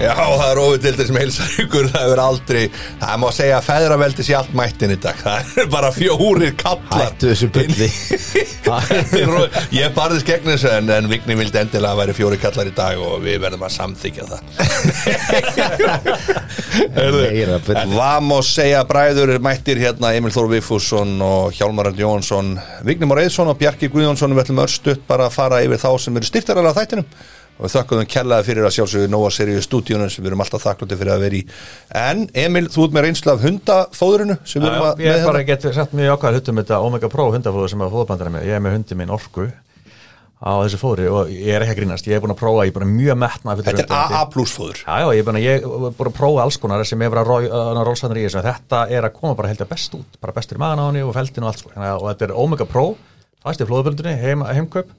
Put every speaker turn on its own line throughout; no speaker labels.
Já, það er ofindildið sem heilsar ykkur, það hefur aldrei, það má segja að feðraveldi sé allt mættin í dag, það er bara fjórir kallar.
Hættu þessu bulli
Þetta er ro- Ég barðist gegn þessu en, en Vigni vildi endilega að væri fjóri kallar í dag og við verðum að samþykja
Meira
það
bull.
Vamos segja bræður mættir hérna Emil Þór Viffússon og Hjálmar Arnd Jóhansson Vigni Már Eidsson og Bjarki Guðjónsson við ætlum örstutt bara að fara yfir þá sem eru stiftarar af þættinum og við þökkum þeim kellaði fyrir að sjálfsögðu Nóa Seriðu stúdíunum sem við erum alltaf þakklátið fyrir að vera í en Emil, þú ert með reynslu af hundafóðurinu sem við erum að
Ég er
með
bara
hérna.
getur sagt mjög ákvæður hlutum þetta Omega Pro hundafóður sem að fóðbandar er með ég er með hundi minn orku á þessu fóðri og ég er ekki að grínast, ég er búin að prófa ég er búin að mjög metna fyrir
Þetta er AA plus fóður
Já, já, ég er búin að, ég er búin að prófa alls konar sem hefur að rólsvæðnir í þessu en þetta er að koma bara held að best út bara bestur í magan á henni og feldin og allt sko Þannig að- og þetta er Omega Pro, fæst í flóðböndunni heim, heimkaup,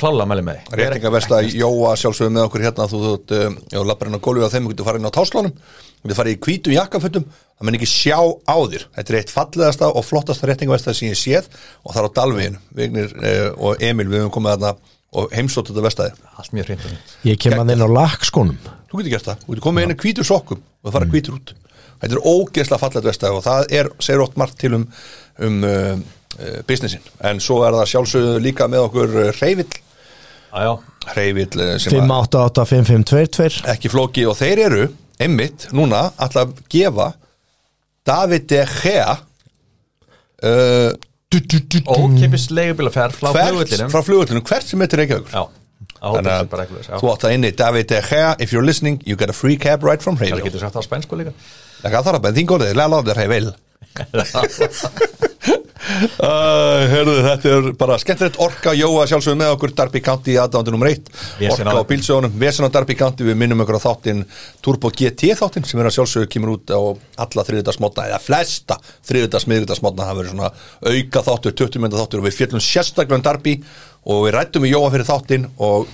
klála mæli með því.
Réttinga versta Jóa sjálfsögum með okkur hérna þú þútt, um, já, lappar inn á gólfið á þeim, þú getur farið inn á táslánum þú getur farið í hvítum jakkafötum það menn ekki sjá á þér þetta er eitt fallegasta og flottasta réttinga versta sem ég séð og það er á Dalvegin Vignir eh, og Emil, við höfum komið þarna og heimsótt þetta verstaði
allt mjög hreint og hreint.
Ég kem að inn á lakkskónum
þú getur gert það, þú getur komið inn í hvítur sokkum og það fara mm. hvítur út þetta er ógeðslega fallegt vestæði og það er, segir ótt margt til um, um uh, businessin, en svo er það sjálfsögðu líka með okkur eh, reyvill
Já, já,
reyvill eh, sem að-
588-5522
ekki flóki og þeir eru einmitt núna alltaf að gefa David De Gea uh,
ókipis leigubílaferð frá
hvert,
flugullinum
frá flugullinum hvert sem þetta er Reykjavíkur
Já, á hópið sem bara ekki
þú átt það inni David De Gea if you're listening you get a free cab ride from
Það
Reykjavík
getur sagt það á spænsku líka
það þarf að benn þín góðið lela á þetta Reykjavík Uh, herðu, þetta er bara skemmtilegt Orka Jóa sjálfsögum með okkur Darby County aðdándu nummer 1
Vesen
Orka
á-
og bílsögunum, Vesen á Darby County við minnum okkur á þáttinn Turbo GT þáttinn sem er að sjálfsögum kemur út á alla þriðutasmotna eða flesta þriðutasmiðutasmotna það verður svona auka þáttur, 20 mynda þáttur og við fjöllum sérstaklega um Darby og við rættum við Jóa fyrir þáttinn og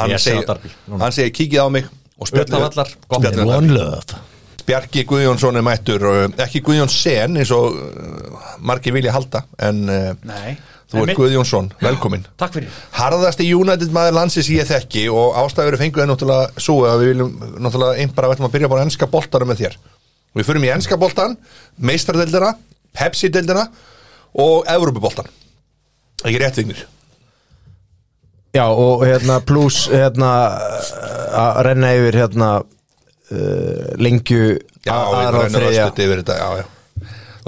hann
Vesen á Darby,
segir,
núna.
hann segir kíkið á mig og
Utan
spjallið-
vallar, gott.
spjallið um Darby.
One love
Bjarki Guðjónsson er mættur uh, ekki Guðjón Sen eins og uh, margir vilja halda en uh,
Nei.
þú
En
ert
mitt-
Guðjónsson, velkomin
Takk fyrir
Harðasti United maður landsins ég þekki og ástæður fenguð er náttúrulega svo að við viljum náttúrulega einn bara verðum að byrja bara á ennska boltanum með þér Við förum í ennska boltan, meistardeldina Pepsi-deldina og Evrópuboltan Ekki rétt vignir
Já og hérna pluss hérna að renna yfir hérna uh, lengju
Já,
a-
við
aðra og
reynum
þriðja.
östuð yfir þetta, já, já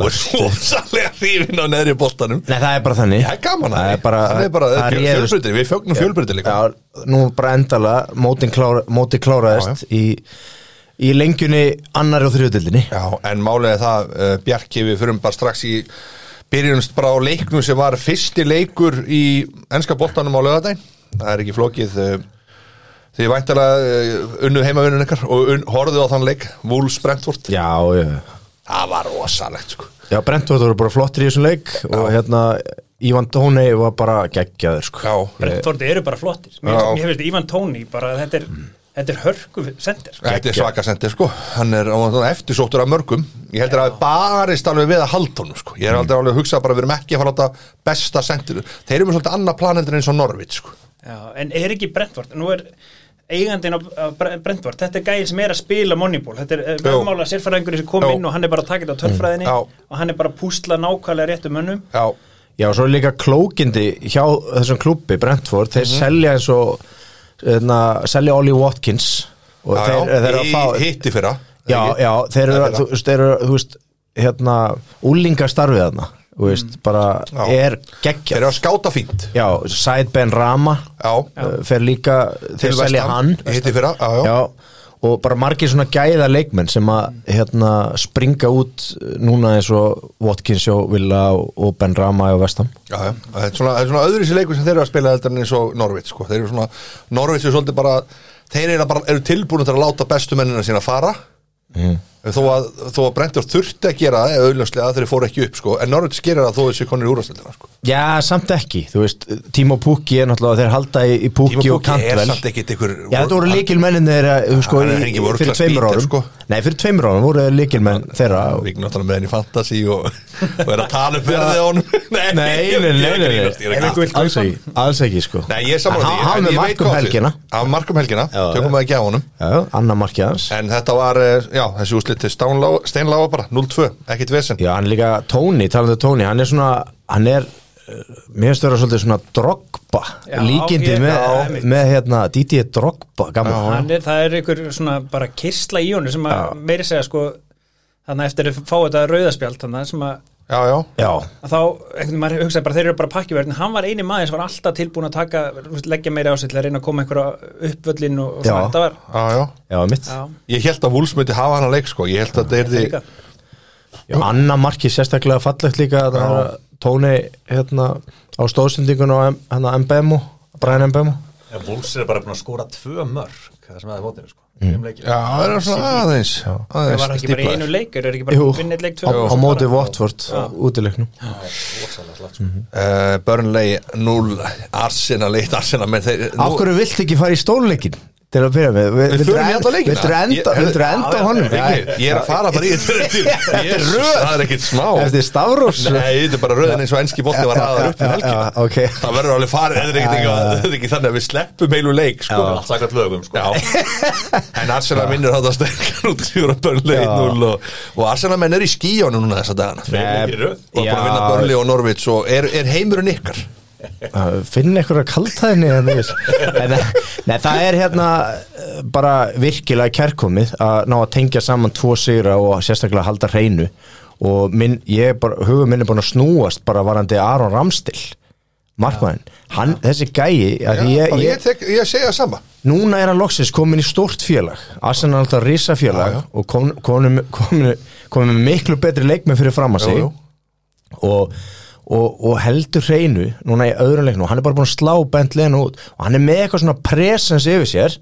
Þú ert svo salega hrifin á neðri boltanum
Nei það er bara þannig
Það er gaman að
Það
því.
er bara,
það er bara
það réðust-
fjölbreytir, við fjögnum fjölbreytir líka
Já, nú bara endala mótin klára, móti kláraðist Í, í lengjunni annar og þriðutildinni
Já, en málega það, uh, Bjarki, við fyrum bara strax í byrjumst bara á leiknum sem var fyrsti leikur í ennska boltanum á lögadaginn það er ekki flókið uh, þið væntalega uh, unnu heimavinnun ykkar og un, horfðu á þann leik, Wolves Brentford
Já, já
það var rosalegt sko
Já, Brentford voru bara flottir í þessum leik og hérna Ívan Tónei var bara geggjaður sko.
Já,
Brentford eru bara flottir
Eh,
Mér
Já. Mm.
finnst- mér finnst Ívan Tóni bara þetta er, þetta er hörku sendir
Þetta er svaka sendir sko, hann er hann er eftirsóttur af mörgum, ég heldur að barist alveg við að halda honum sko, ég
Mm.
er aldrei alveg að hugsa bara við erum ekki að fara að láta besta sendir, þeir eru með svolítið annað planendur eins og Norvit sko.
Já, en er ekki Brentford nú er eigandinn á á Bre- Brentford þetta er gæðin sem er að spila Moneyball þetta er eh,
Jú.
velmála sérfæraðingur sem kom
Jú.
inn og hann er bara að taka þetta á tölfræðinni
Já.
og hann er bara að púsla nákvæmlega réttu mönnum
Já,
Já, svo er líka klókindi hjá þessum klubbi Brentford,
Mhm.
þeir selja eins og hérna, selja Ollie Watkins og
já,
þeir, þeir
í
eru að fá
hitti fyrra
Já,
Ekki?
já, þeir eru,
Eða
þú, veist, þeir eru þú veist, hérna, úlingastarfið þarna, þú veist, bara
Mm. Já.
er
Þeir
geggjað
eru að skáta fínt
Já, Said Ben Rama
Já,
uh, fer líka, þeir
West
selja
Ham,
hann
í Hitti fyrra, já, já,
Já, og bara margir svona gæða leikmenn sem að hérna, springa út uh, núna eins og Watkins og Villa og- og Ben Rama og Vestam
já, já. Þetta er svona, þetta er svona öðru sér leikur sem þeir eru að spila heldur en eins og Norvit sko. Þeir eru svona,
Mhm.
Norvit er svolítið bara Þeir eru, bara, eru tilbúinu til að láta bestu mennina sína fara þó að, þó að Brentor þurfti að gera það auðlagslega þegar þeir fóru ekki upp sko. en Norvits gerir það þó þessi konur í úrvarsleituna sko.
Já, samt ekki, þú veist, Tímo Pukki er náttúrulega þeir halda í, í Pukki
Tíma
og
Pukki er
Kantvel
samt ekkit ykkur
Já, þetta voru líkilmennin þeirra uh, sko,
Hann er
í-
ekki voru
fyrir
örugglega
tveimur
spýtir,
árum
sko.
Nei, fyrir tveimur árum voru þeir líkilmenn þeirra og-
Við náttúrulega með henni í fantasy og, og er að tala um verðið á honum Nei,
Nei,
ég-
nei,
ég
nei,
er
nei,
að
nei.
grínast, ég er að
Alls
grínast.
ekki, alls ekki, alls ekki sko
Nei, ég er saman
Hann- hann með mark um helgina.
Hann markum helgina,
Já,
tökum við ekki á honum
Já, annar markið hans
En þetta var, eh, já, þessi úrslit til stánlá- steinláa bara, 0-2, ekkit vesen
Já, hann er líka Tóni, talandi um Tóni hann er svona, hann er uh, mér finnst vera svolítið svona Drogba
Já,
líkindi
ég- já,
með,
einmitt.
með hérna, Didi Drogba, gammal
Hann er, það er einhver svona bara kistla í honum sem að meiri segja sko þannig að eftir að fá þetta rauðaspjald þannig sem að,
Já, já,
Já,
að þá, einhvern veginn maður hugsaði bara þeir eru bara pakkjuvörðin, hann var eini maður sem var alltaf tilbúin að taka, þú veist, leggja meira á sig til að reyna að koma einhverja uppvöllin og, og svona
Já.
þetta var
já, já
já, mitt
já,
Ég held að Wolves myndi hafa hann að leik, sko Ég held að þetta er
líka,
Anna markið sérstaklega fallegt líka það var Tóni hérna á stóðsendingun á M- hérna, MBM Brian MBM
En Wolves er bara búin að skóra tvö mörg það sem það er mótinu sko mm.
Já, það er svona aðeins
það
aðeins
var ekki bara í einu
stíplaðir.
leik er ekki
Jú,
bara vinnið leik
á,
tvö
á móti Watford útileiknum
Eh, Burnley 0 Arsenal 1, Arsenal menn þeir nú-
Af hverju vilt ekki fara í stóluleikin til að byrja með?
Við förum í alla leikina.
Viltur enda,
Ég-
viltur enda á honum?
Ég ég er að fara bara í þetta Þetta er röð Það er ekkit smá
Eftir Stavros
Nei, þetta er bara röðin eins og enski bótti var aðar upp um
Já,
helgina
já, ok.
Það verður alveg farið, þetta er ekkit ekki, þetta er ekki þannig að við sleppum heilu leik sko.
Allt sakat lögum sko
Já. En Arsenal minnir þetta sterkan út Sjóra Burnley 0 og, og Arsenal menn er í skíjónu núna þessa dagana
Tveir leikir í röð.
Og er búin að vinna
Já.
Burnley og Norvits og er, er heimurinn ykkar
Uh, finn einhverja kaltæðinni en þú veist. En, eh, Nei, það er hérna eh, bara virkilega kærkomið að ná að tengja saman tvo sigra og sérstaklega halda hreinu og minn, ég er bara, hugum minn er búin að snúast bara varandi Aron Ramstil markmann, hann, þessi gæi að
Já,
ég,
bara
ég,
tek, ég segja sama
núna er hann loksins komin í stórt félag Arsenal er alltaf risa félag
Já, já.
og komin, komin, komin, komin með miklu betri leikmenn fyrir fram að sig
jú.
og, og, og heldur hreinu núna í öðrum leiknum og hann er bara búin að slá bent leina út og hann er með eitthvað svona presens yfir sér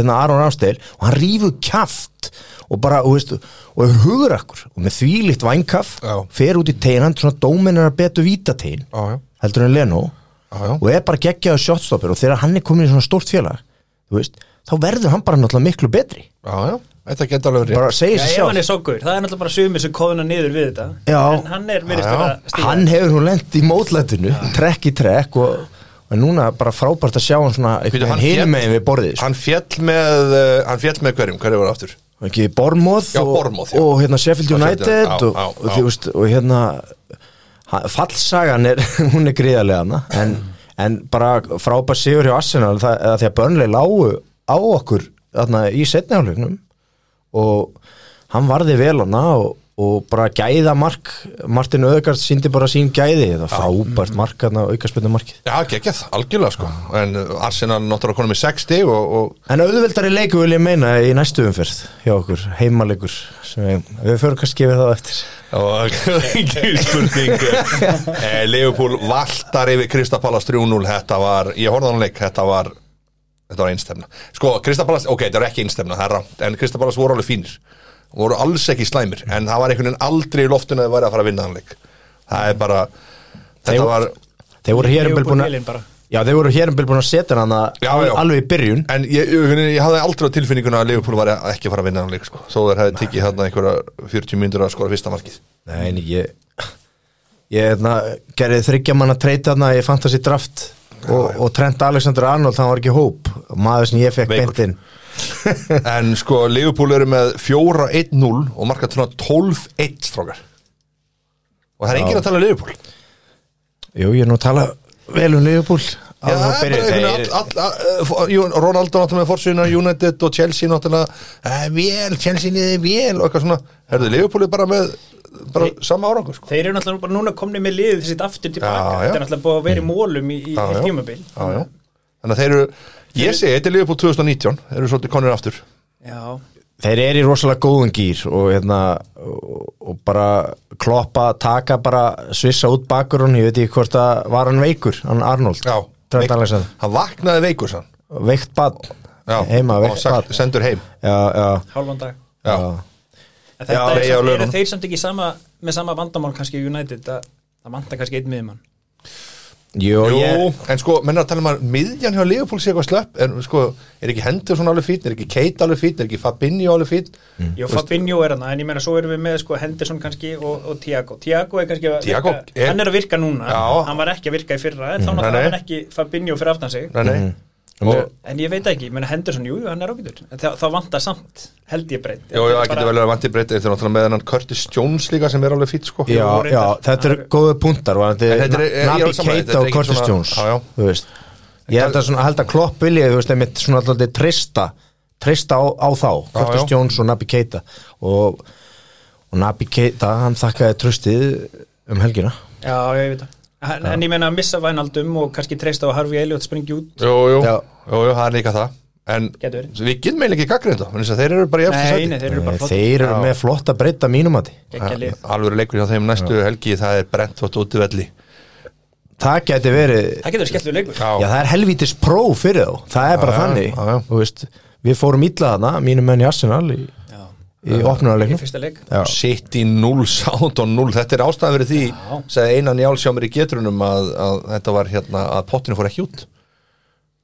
eða Aron Ramsteil og hann rífur kjaft og bara, og veist, og er hugur akkur og með þvílitt vænkaff
Já.
fer út í tegin, hann er svona dóminar að betu vítategin
Já, já.
heldur en Leno
Já, já.
og er bara geggjaðu shotstopper og þegar hann er komin í svona stórt félag þú veist, þá verður hann bara náttúrulega miklu betri
Já, já, þetta geta alveg rétt
bara segir
Já,
sig
ef hann
sjálf
er sokkur, það er náttúrulega bara sumir sem kóðuna niður við þetta
Já.
En hann er virðist
Já, já.
vera að stíga
hann hefur nú lent í mótlætinu trekk í trekk og, og núna bara frábært að sjá hann svona
Býtu, hann
hinn
féll-
megin við borðið sko.
Hann fjall með, uh, hann fjall með hverjum, hverju var aftur?
ekki Bormoth
Já,
og,
Bournemouth, já.
og hérna Sheffield
Og
United
Sheffield, já,
og,
já,
og,
já.
þú veist, og hérna ha- fallsagan er, hún er gríðarlega hana en, en bara frábær sigur hjá Arsenal það, eða því að Burnley lágu á okkur þarna í setnihálugnum og hann varði vel hana og, og bara gæða mark Martin Öðgard síndi bara sín gæði það frábært mark hana aukarspennu markið
Já, geggjað, algjörlega sko En uh, Arsenal náttúrulega konum í 60 og, og
En auðveldari leiku vil ég meina í næstu umferð hjá okkur, heimalegur sem við, við förum kannski yfir það á eftir
Og ekki spurning eh, Leopold valtar yfir Kristapalas 3-0 Þetta var, ég horfði á hann leik Þetta var, þetta var einstemna Sko, Kristapalas, ok, þetta var ekki einstemna Það er rámt, en Kristapalas voru alveg fínir Voru alls ekki slæmir, en það var einhvern veginn aldrei í loftinu að það væri að fara að vinna hann leik Það er bara,
Þeir-
þetta var
Þeir voru hér um bil
Liverpool
búin
Elín
að
bara.
Já, þeir voru hér um bil búin að setja hann
Já,
al,
já.
alveg í byrjun
En ég, ég, ég, ég hafði aldrei á tilfinninguna að Liverpool var ekki að fara að vinna hann leik sko. Þó þeir hefði tekið hérna einhverja 40 myndur að skora fyrsta markið
Nei, en ég ég hefna, gerði þryggja manna treyta hann að ég fant þessi draft og, og Trent Alexander Arnold, hann var ekki í hóp maður sem ég fekk
Veikur.
beintinn
En sko, Liverpool eru með 4-1-0 og markað svona 12-1 strákar Og það er enginn að tala um Liverpool Já,
Jú, ég er nú að tala vel um Liverpool Já,
bara einhvern veginn, all, all, all, uh, Jú- Ronaldo náttúrulega með forsýna United og Chelsea náttúrulega eh, Vel, Chelsea niður vel og eitthvað svona Herðu, Liverpool er bara með bara sama árangur sko.
Þeir eru náttúrulega bara núna komni með liðið sitt aftur tilbaka
Já, já.
Þetta er náttúrulega búið að
Mm.
vera í mólum í, í
Já, já.
tímabil
Já, já. Þannig að þeir eru Ég segi, þetta er Liverpool 2019 Þeir eru svolítið konir aftur
Já,
Þeir eru í rosalega góðum gýr og, hérna, og, og bara kloppa, taka bara svissa út bakur hann, ég veit ekki hvort að var hann veikur, hann Arnold
Já,
Trent
veik-
Alexander,
hann vaknaði veikur sann
veikt badn
Já,
heima,
og
veikt
sagt-
badn
sendur heim
Já, já
hálfan dag
Já.
Já.
En
Já,
Þetta er,
Veiga á
samt, eru
lögunum.
þeir samt ekki sama, með sama vandamál kannski í United að það vantar kannski einn miðjumann
Jú,
Jú,
ég,
en sko, menn er að tala um að miðjan hjá Leopold sé eitthvað slöpp en sko, er ekki Henderson alveg fín, er ekki Kate alveg fín, er ekki Fabinho alveg fín
Jó, Fabinho er hana, en ég meina svo erum við með sko, Henderson kannski og, og Tiago Tiago er kannski, að
Thiago
virka,
er-
hann er að virka núna
Já. Mm,
hann var ekki að virka í fyrra en þá
Nei,
náttúrulega
nei.
var hann ekki Fabinho fyrir aftan sig
Nei, nei,
og,
en ég veit ekki, ég meina Henderson, jú, jú, hann er ágætur en það, það vantar samt, held ég breytt
Jú, jú, það getur vel verið að vanti breyta þetta er náttúrulega með hennan Curtis Jones líka sem er alveg fín, sko
já,
Jú, reyndar.
já, þetta eru
Hann er-
góðu puntar varðandi
En þetta er- ég er alveg
Nabi
sammála, þetta
Keita
er
og
ekki
Curtis
svona-
Jones
Já, já.
þú veist ég held að, svona, held að klopp vilja þú veist, einmitt svona alltaf trista trista á, á þá, Curtis
já.
Jones og Nabi Keita og, og Nabi Keita, hann þakkaði trustið um helgina
Já, ég veit það en, en ég meina að missa Vænaldum og kannski treysta á Harfi Elliot springi út
Jú, jú,
Já.
jú, jú, það er líka það En
Gæti verið.
við getum eiginlega ekki gaggrið þetta þannig að þeir eru bara í eftir
Nei, nei,
sæti
þeir eru bara flott
þeir eru
Já.
með flott að breyta mínum að
Gekkja lið.
Alveg leikur hjá þeim næstu helgi, það er brent þótt út í velli
það geti verið
Það getur skellt við leikur
Já, það er helvítis pró fyrir þá Það er
Já,
bara
já,
þannig
já, já.
Þú veist, Við fórum illa þarna, mínum menn í Arsenal í,
Já,
í
í
opnunarleiknum
fyrsta leik
Já.
Sitt í 0, sátt og 0 Þetta er ástæðan fyrir því,
Já.
sagði einan Njáls hjá mér í getrunum að, að þetta var hérna að pottinu fór ekki út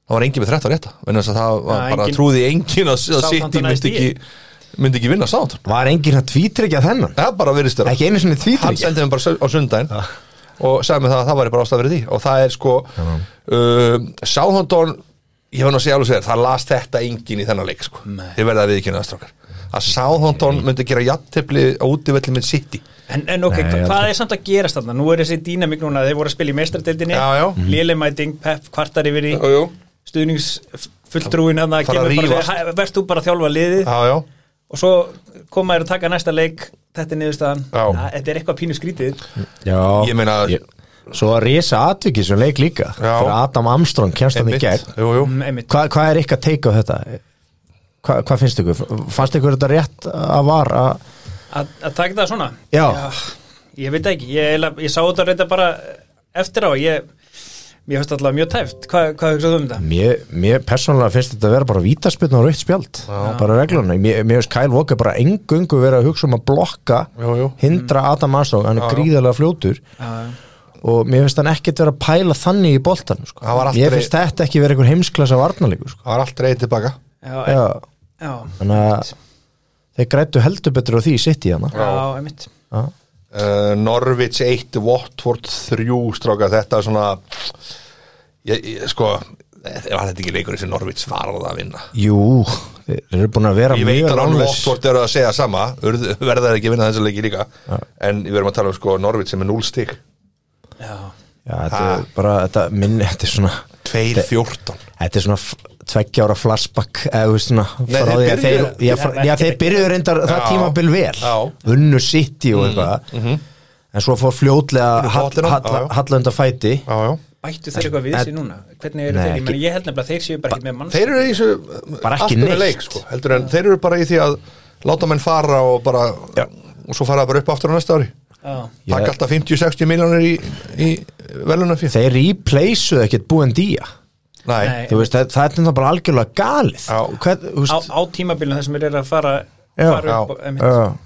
Það var engin með 13 rétta vegna þess að það var
Já,
bara
engin-
trúði engin að, að Sitt í
Southampton
myndi
næst í.
ekki, myndi ekki vinna sátt
Var enginn að tvítryggja þennan
Það bara virðist þér
Ekki einu sinni
hann
tvítryggja
sendið mér bara sau- á sundaginn og sagði mér það að það væri bara ástæð fyrir því og það er sko uh, Sáðhondón, ég var nú að segja alveg sér það las þetta engin í þennan leik sko. þið verða að viðkynna það strókar að Sáðhondón myndi gera jattefli á útivelli með City
En, en ok,
Nei,
hva,
ég
hvað er samt að gerast þarna? Nú er þessi dýnamík núna, þeir voru að spila í meistardildinni
Já, já.
Lélemæting, Pep, kvartar yfir í
jú.
stuðningsfulltrúin hann að
Fara að
bara
rífast.
"Hæ, Verð þú bara að þjálfa liðið
já, já,
og svo koma þér að taka næsta leik þetta er niðurstaðan,
Já.
Æ, þetta er eitthvað pínu skrítið
Já,
Ég meina-
Svo að risa atviki sem leik líka
Já.
Fyrir Adam Armstrong kemst hann í gegn
jú, jú.
Mm, einmitt.
Hva, Hvað er ykkar teik á þetta? Hva, hvað finnst ykkur? Fannst ykkur þetta rétt að var að
Að að taka það svona?
Já.
Ég veit ekki, ég, eiginlega- ég sá þetta reynda bara eftir á, ég mér finnst alltaf mjög tæft, Hva, hvað hugsaðu um þetta?
Mér, mér persónulega finnst þetta að vera bara vítaspilna og rautt spjald, bara regluna mér, mér finnst Kyle Walker bara engungu vera að hugsa um að blokka,
Jú, jú.
hindra Adam Armstrong, hann er gríðarlega fljótur
Já,
og mér finnst hann ekkert vera að pæla þannig í boltanum, sko.
Hann var aldrei-
mér finnst þetta ekki vera einhver heimsklasa varnalíku, sko.
það var allt reyðið tilbaka
já, já,
Já,
já,
þannig að þeir grættu heldur betur á því sitt í hérna. hana
já, einmitt
Já.
uh, Norwich 1, Watford 3 strákar, þetta er svona ég, ég, sko var þetta ekki leikur sem Norwich var að vinna
Jú, þeir eru búin að vera
ég veit
mjög
að
ránlaus.
Watford eru að segja sama urðu- verða þeir ekki að vinna þessu leiki líka en við erum að tala um sko Norvits sem er 0 stig
Já,
Já, þetta er bara, þetta minni, þetta er svona
2-14
Þetta er svona f- tveggja ára flashback eða þú veist svona
Nei,
frá
þeir
því að þeir,
byrjuðu-
já, frá, já, þeir byrjuðu reyndar það
Já.
tímabil vel
Já. Mhm,
unnu City og eitthvað en svo fór fljótlega hall,
pottina,
hall,
já, já.
hall undan fæti
já, já.
Bættu þeir eitthvað við
en-
sér núna? Hvernig eru
Nei,
þeir? Ég,
ekki-
meni, ég held nefnilega að þeir séu bara ekkert með mann
þeir eru í þessu eh,
Bara ekki
allt öðrum
neitt.
leik sko, heldur en þeir eru bara í því að láta menn fara og bara
Já.
og svo fara það bara upp aftur á næsta ári
Já,
takk alltaf 50-60 miljónir í, í velunum fyrir
þeir replaceuðu ekkert búin dýja
nei,
Nei.
þú veist, það, það er þetta bara algjörlega galið
Já.
Hvað, þú
á,
veist,
á tímabilinu þessum þeir eru að fara,
Já,
fara upp
já,
og- einmitt.
já,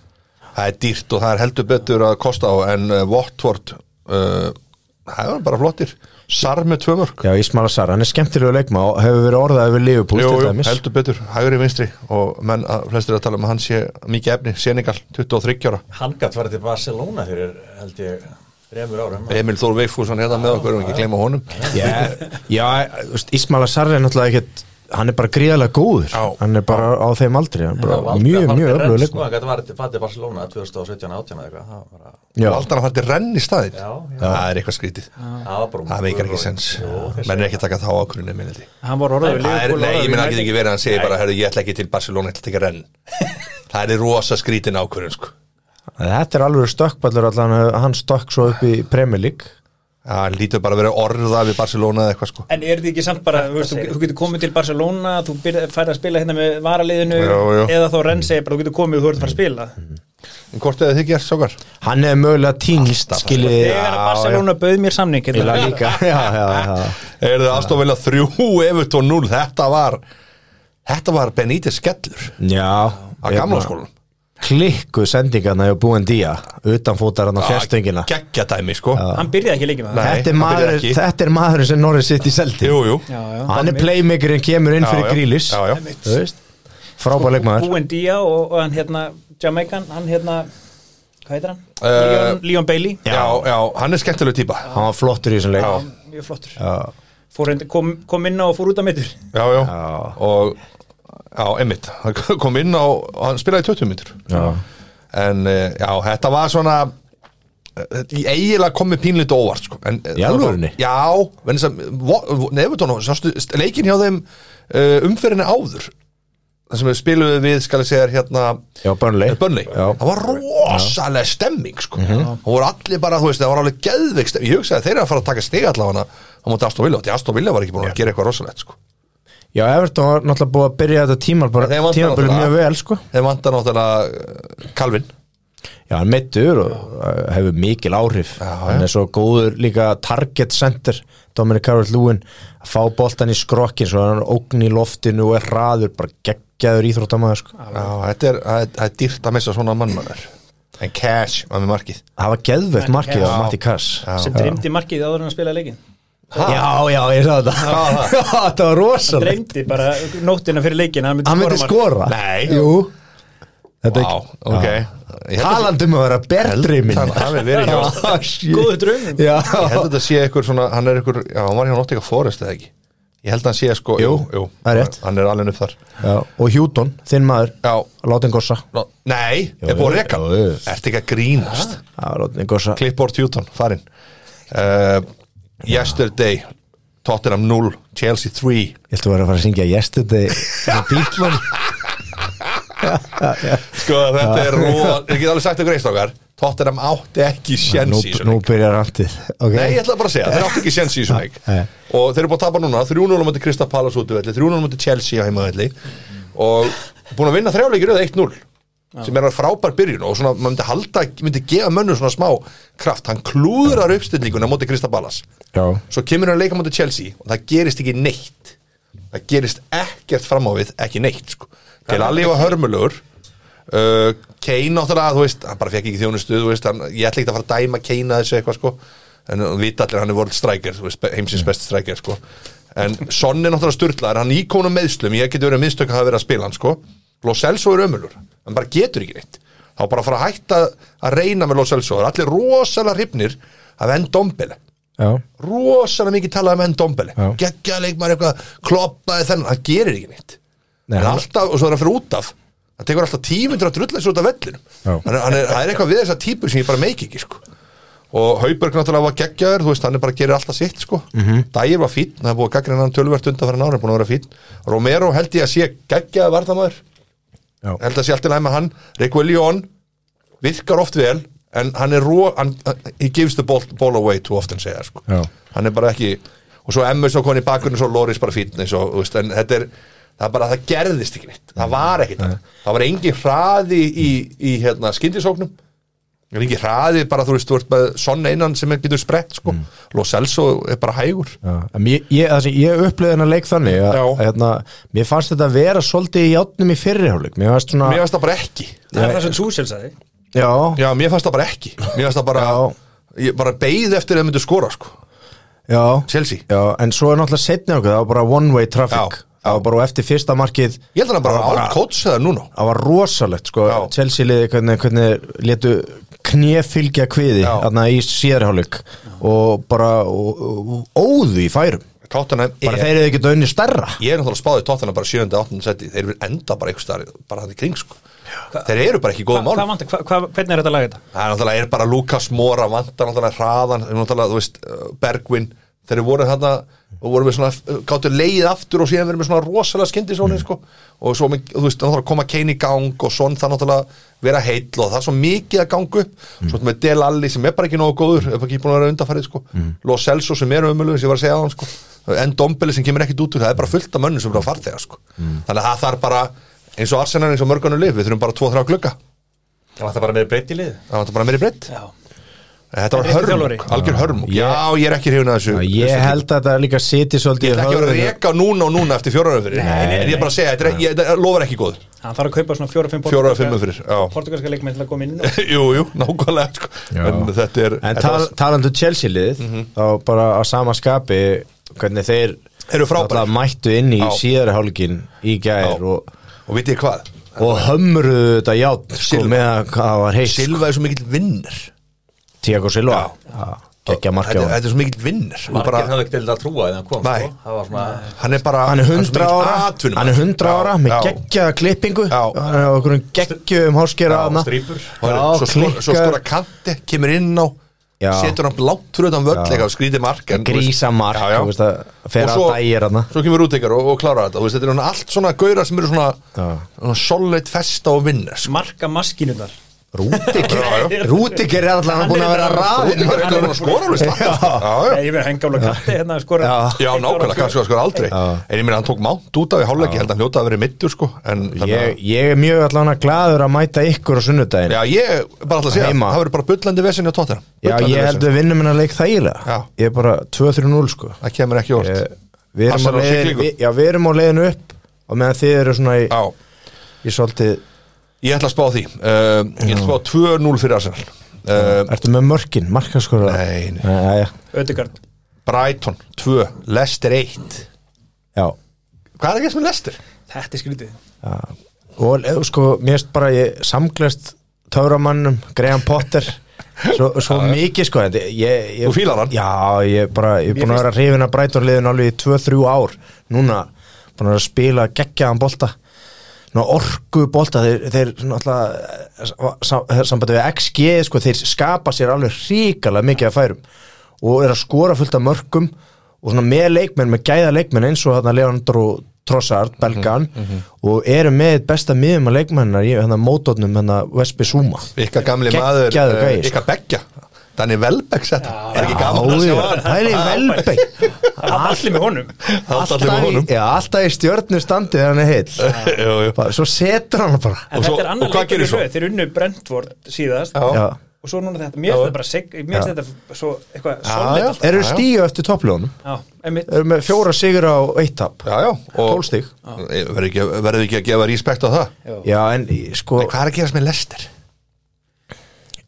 það er dýrt og það er heldur betur að kosta á en uh, Watford uh, það er bara flottir Sar með tvö mörg
já Ísmala Sara, hann er skemmtilegu leikma og hefur verið orðað yfir Liverpool
Jú,
til
jú,
dæmis.
heldur betur, hægri vinstri og menn að flestir að tala um að hann sé mikið efni, Senegal, 23 ára
Hann gætt farið til Barcelona fyrir, held ég, remur árum
Emil Þór Veifússon hérna með okkur og ekki gleyma honum
Já, já þú veist, Ismail Assar er náttúrulega ekkert hann er bara gríðarlega góður
Já.
hann er bara á þeim aldri hann er bara mjög, mjög öflugur
Sko,
leikmann
hann gætt farið til farið til Barcelona 2017-18 eitthvað Það var bara-
Já,
Valdan að hann til renn í staðin
Já, já.
Það er eitthvað skrítið
það var bara
Það meikar ekki sens Menn er ekki að taka þá ákvörðinu minni því
Hann var orðið við
Það er,
Liverpool
nei,
orðaður
ég
við
minna ekki
United.
ekki verið að hann segi bara herru, ég ætla ekki til Barcelona, ég ætla að taka renn Það er rosa skrítin ákvörðin sko
þetta er alveg stökkballur allan hann stökk svo upp í Premier League
Það lítur bara að vera orða við Barcelona eða eitthvað sko
En er þið ekki samt bara, þú, veist, þú, þú getur komið til Barcelona, þú byrð- færð að spila hérna með varaliðinu
Já, já.
eða þá renn segir bara, þú getur komið og þú ert að fara að spila.
En hvort eða þið gerst sókar?
hann er mögulega týnst skilið
Þegar að Barcelona bauð mér samning,
Ég
hérna,
lag líka já, já, já.
Er það aðstofvila 3, Everton 0 Þetta var Þetta var Benítez skellur
já Hérna-
Að gamla skólanum
klikku sendingarna hjá Búendía utanfótar hann á fjastöngina
Gekkja dæmi, sko
Hann byrjaði ekki leikið með
Nei.
það
þetta, er
hann byrjar
maður,
ekki.
þetta er maðurinn sem Norris sitt í seldi
Jú, jú
Já, já.
hann er playmakerinn kemur inn
Já,
fyrir
já.
grílis
Já, já.
frábær leikmaður
Buendia og, og hann hérna Jamaican, hann hérna hvað heitir hann?
Eh,
Leon, Leon Bailey
Já, já, hann er skemmtileg típa
hann var flottur í þessum leik
Já.
mjög flottur
Já.
fór, reynd- kom, kom inn á og fór út af mittur
Já, já,
Já.
og Já, einmitt, hann kom inn á hann spilaði 20 minnur
Já.
En eh, já, þetta var svona eh, Í eiginlega komið pínlítið óvart sko. en, eh,
Í alvörunni?
Já, venni sem Nefnutón, sástu st- leikinn hjá þeim uh, umferðinni áður Það sem við spiluðu við, skal ég segja, hérna
já, Burnley
Bönni,
Já. Mhm.
það var rosalega stemming sko. það voru allir bara, þú veist, það var alveg geðveik stemming, ég hugsaði að þeir eru að fara að taka stig allavega á móti Aston Villa, því Aston Villa var ekki búin að gera eitthvað rosalegt sko.
já, Everton var náttúrulega búið að byrja þetta tímal bara,
Þeim vantar
tímabili
náttúrulega-
mjög vel sko
þeir vantar náttúrulega eh, Calvin
já, hann meittur og uh, hefur mikil áhrif já, hann er svo góður líka target center Dominic Carvell Lúin að fá boltan í skrokkin svo hann er ógn í loftinu og er hraður bara geggjaður íþróttamæður sko
Já, þetta er, það er, það er dýrt að missa svona mannmæður en cash var með markið
það var geðveikt markið á Matti Kass
sem dreymdi markið áður en að spila leikin
Já, já, ég sagði þetta Þetta var rosalegt
dreymdi bara nóttina fyrir leikin að
Hann
hann
myndi
myndi
skora
Nei.
Jú Þetta
Vá, ok Ég held að-
Talandum um að vera berðrýmin
Það hafi verið hjá Ah,
Já.
Góð
góðu draumum
Já
Ég held að þetta sé eitthvað svona, hann er eitthvað, já, hann var hjá Nottingham Forest eða ekki Ég held að hann sé sko, jú, jú,
það er rétt.
hann er alveg upp þar
Já, Og Hjúton, þinn maður
Já,
Látin Gossa
Nó, nei,
Jú,
er búið að reka
jú, jú.
Ertu ekki að grínast
Já, Látin Gossa
Clipboard Hjúton, farin uh, Yesterday Tottenham 0, Chelsea 3
Ég ætla að vera að fara að syngja Yesterday með Bílmann
Sko þetta er rú Ég get alveg sagt ykkur eitt okkar Tottenham átti ekki sko.
Nú,
sjens í
nú
svona
byrjar randið okay.
Nei, ég ætla bara að segja, þeir áttu ekki sjens í svona
Nei.
Og þeir eru búin að tapa núna 3-0 mætti Krista Palas út í velli 3-0 mætti Chelsea á heimavelli Og búin að vinna þrjáleikir eða 1-0 sem er að frábær byrjun og svona, maður myndi halda, myndi gefa mönnum svona smá kraft, hann klúðrar uppstillinguna móti Krista Ballas
Já
svo kemur hann að leika mútið Chelsea og það gerist ekki neitt það gerist ekkert fram á við, ekki neitt sko. til allir var hörmulur uh, Kane náttúrulega, þú veist hann bara fekk ekki þjónustu, þú veist hann, ég ætla ekki að fara að dæma Kane að þessu eitthvað sko en hann vita allir að hann er world striker, þú veist, heimsins best striker sko, en Son er náttúrulega styrlaður, hann er íkónum meðslum, ég geti verið miðstök að hafa verið að spila hann sko Lo Celso er ömulur, hann bara getur ekki neitt þá bara að fara að hætta að reyna með Lo Celso, það er allir rosalega hrifnir af enn Dombele
Já
rosalega mikið talað um enn dombeli
Já.
geggjaða leikmaður eitthvað, kloppaði þennan það gerir ekki neitt
Nei,
en
hann-
alltaf, og svo er hann fyrir út af það tekur alltaf tímyndur að drulla þessu út af vellinum
Já.
hann, er- hann er, það er eitthvað við þessar típur sem ég bara meiki ekki sko. og Hauberg náttúrulega var geggjaður þú veist, hann er bara að gera alltaf sitt sko.
Mhm.
Dægir var fínn, það er búið að gaggrina hann tölvert undanfæra nára, búin að vera fínn Romero held ég að sé geggjaður varðamaður
Já.
held að sé allt í læma hann Reguilón virkar oft vel en hann er ró hann, he gives the ball, ball away too often segja, sko.
Já.
hann er bara ekki og svo Emmer svo koni í bakgrunni svo Loris bara fínn eins og, þú veist, en þetta er það er bara það gerðist ekki neitt, það var ekkit það. það var engin hraði í, í hérna, skyndisóknum það er engin hraði bara þú veist, þú ert með sonna innan sem er getur sprett sko,
Mm.
Lo Celso er bara hægur
Já, en ég, ég, það sem ég upplöði hennar leik þannig að,
Já.
að hérna, mér fannst þetta að vera svolítið í játnum í fyrrihálleg mér fannst svona
mér finnst það bara ekki
það er það sem Súsel sagði
já, já,
já, mér fannst það bara ekki mér fannst það bara,
Já.
ég bara beið eftir að það myndu skora sko,
já,
Chelsea
en svo er náttúrulega setni okkur það var bara one way
Já,
traffic
já.
það var bara á eftir fyrsta markið
Ég held að hann bara
Það var
átt coach það núna
það var rosalegt sko,
Já.
Chelsea liði hvernig, hvernig letu knéfylgja kviði
Já.
þarna í síðarhálleg og bara og, og, óðu í færum
Tottenham
bara
er,
þeir eru ekki dönni stærra
Ég er náttúrulega spáðið Tottenham bara 7. 8. seti Þeir vil enda bara einhver starf bara þannig kring sko Þeir eru bara ekki í
Hva,
góðum
hvað
málum
vantar, hva, hva, hvernig er þetta lag þetta?
Það er náttúrulega er bara Lukas Mora vantar náttúrulega hraðan þeir eru náttúrulega, þú veist, uh, Bergvin Þeir voru þarna og voru með svona gáttu leið aftur og síðan verið með svona rosalega skyndisóni sko og svo með, þú veist, náttúrulega koma Kane í gang og svona það náttúrulega vera heill og það er svo mikið að gangu upp svo ertu með Del Alli sem er bara ekki nógu góður er bara ekki búin að vera undarfærið sko Lo Celso sem er umölu sem ég var að segja á hann sko en Dombeli sem kemur ekkit út úr það er bara fullt af mönnum sem er að fara þeirra sko þannig að það þarf bara eins og Arsenal eins og mörgunum lif við þurfum bara 2-3 glugga
Það var það bara með breytt í lið
það var bara meiri breytt
Já.
Þetta var
Þetta er
hörmung,
þjálfari.
algjör hörmung Já, ég er ekki hrifin að þessu
Ég held að þetta líka siti svolítið
Ég ætla ekki að vera
í
að
höfðinu.
reka núna og núna eftir fjóra fyrir En ég er bara að segja, þetta er ekki- ég- þetta lofar ekki góð
Hann þarf að kaupa svona fjóra-fimm
Fjóra og fimm fyrir, já
portugalska leikmenn til að koma inn og
Jú, jú, nákvæmlega sko.
Já.
En þetta er
En
þetta
tal,
var- Mhm.
talandu Chelsea liðið þá bara á sama skapi hvernig þeir
Eru frábærir.
náttúrulega mættu inn í
Já.
síðari hálfleikin í gær
Já.
og,
Og vitið þið hvað?
og hömruðu þetta játn sko,
Silva.
með að hvað það var heist
Silva er svo mikill vinnir
Tiago Silva geggja markja
Þetta
á hann
þetta er svo mikill vinnir Og
Margir
bara-
hafði ekki til að trúa þegar hann kom
Nei.
sko. Það var svona
Hann er bara
Hann er 100
svo mikill
ára,
atvinnumaður.
hann er 100 ára með
Já.
geggjaða klippingu
Já.
og hann er okkur um geggjum háskera
Já,
hana
strýpur
Og hann-
Já,
Svo skora-
klikkar.
svo skora kanti, kemur inn á
Já.
Setur hann látt fyrir utan völl eitthvað, Skrítið mark en, þú veist-
grísamark
Já, já.
þú veist að fer
Og
að dægir hana
svo kemur útíkar og, og klára þetta Þú veist, Þetta er svona allt svona gauðra sem eru svona,
Já.
svona solid festa og vinna sko.
marka maskinunar
Rúdiger Rúdiger er alltaf búin að vera
Það er
ræðin
eitthvað að skora alveg slatta Já, já,
Ég verði hengála katti hérna að skora
Já.
já nákvæmlega, kannski að skora aldrei En ég meina, hann tók mánt út af í hálfleik Ég held að hann hljóta að vera middur sko en, þannig að-
ég, ég er mjög allan að glaður að mæta ykkur á sunnudaginn
Já, ég bara alltaf að segja,
Heima.
það verður bara bullandi vesinni á tóttina
Já, ég held við vinnum hennar leik þægilega
Já.
Ég er bara 2-3-0 sko
Það kemur ekki orð
ég, við, erum á
Passar á
leiðin,
siglingu.
við, já, við erum á leiðin upp og meðan þið eru svona í,
Já,
í svolítið
ég ætla að spá því uh, Ég ætla að spá 2-0 fyrir Arsenal uh,
Ertu með mörkin, markaskora
Nei, nei.
nei já,
Ödegard
Brighton 2, Leicester 1
já.
Hvað er ekki sem Leicester?
Þetta er skrítið
Og eh, sko, mér erst bara ég samglast Töframannum, Graham Potter Svo, svo mikið sko þetta- ég, ég,
Þú fílar hann?
Já, ég bara, ég er búin að vera hrifin að breyta liðin alveg í 2-3 ár Núna, búin að vera að spila geggjaðan bolta Ná, orku bolta, þeir, þeir náttúrulega sam- sambandi við XG sko, þeir skapa sér alveg ríkalega mikið að færum og er að skora fullt af mörkum og svona með leikmenn, með gæða leikmenn eins og þarna Leandro Trossard,
Mhm,
Belgan og eru með eitt besta miðum að leikmennar í hérna mótótnum hérna Vespi Suma
Ykkar gamli
Geggjaður
maður, uh,
gæi, sko.
ykkar beggja Þannig Velbæk setta, er ekki gaman að sjá hann
Það er í velbæk
Allir með honum
Allt allir um. með
alltaf, í-
honum
já, alltaf í stjörnu standið hann er heill
Jú, jú.
Bara- Svo setur hann bara
Og
En
svo-
þetta er
og
annar
hvað
leikur
gerir
í
svo?
röð Þeir unnu Brentford síðast
Já.
Já.
Og svo núna þetta Mér finnst þetta bara sig- Mér finnst þetta svo Eitthvað solid
já.
alltaf
Eru
Já, já.
stíu eftir toppljónum
Já, einmitt
Eru með fjóra sigur á eitt tap
Já, já,
Tólf stig.
Verður ekki, verður ekki að gefa respekt á það
Já, en í- sko,
En Hvað er að gerast með Leicester?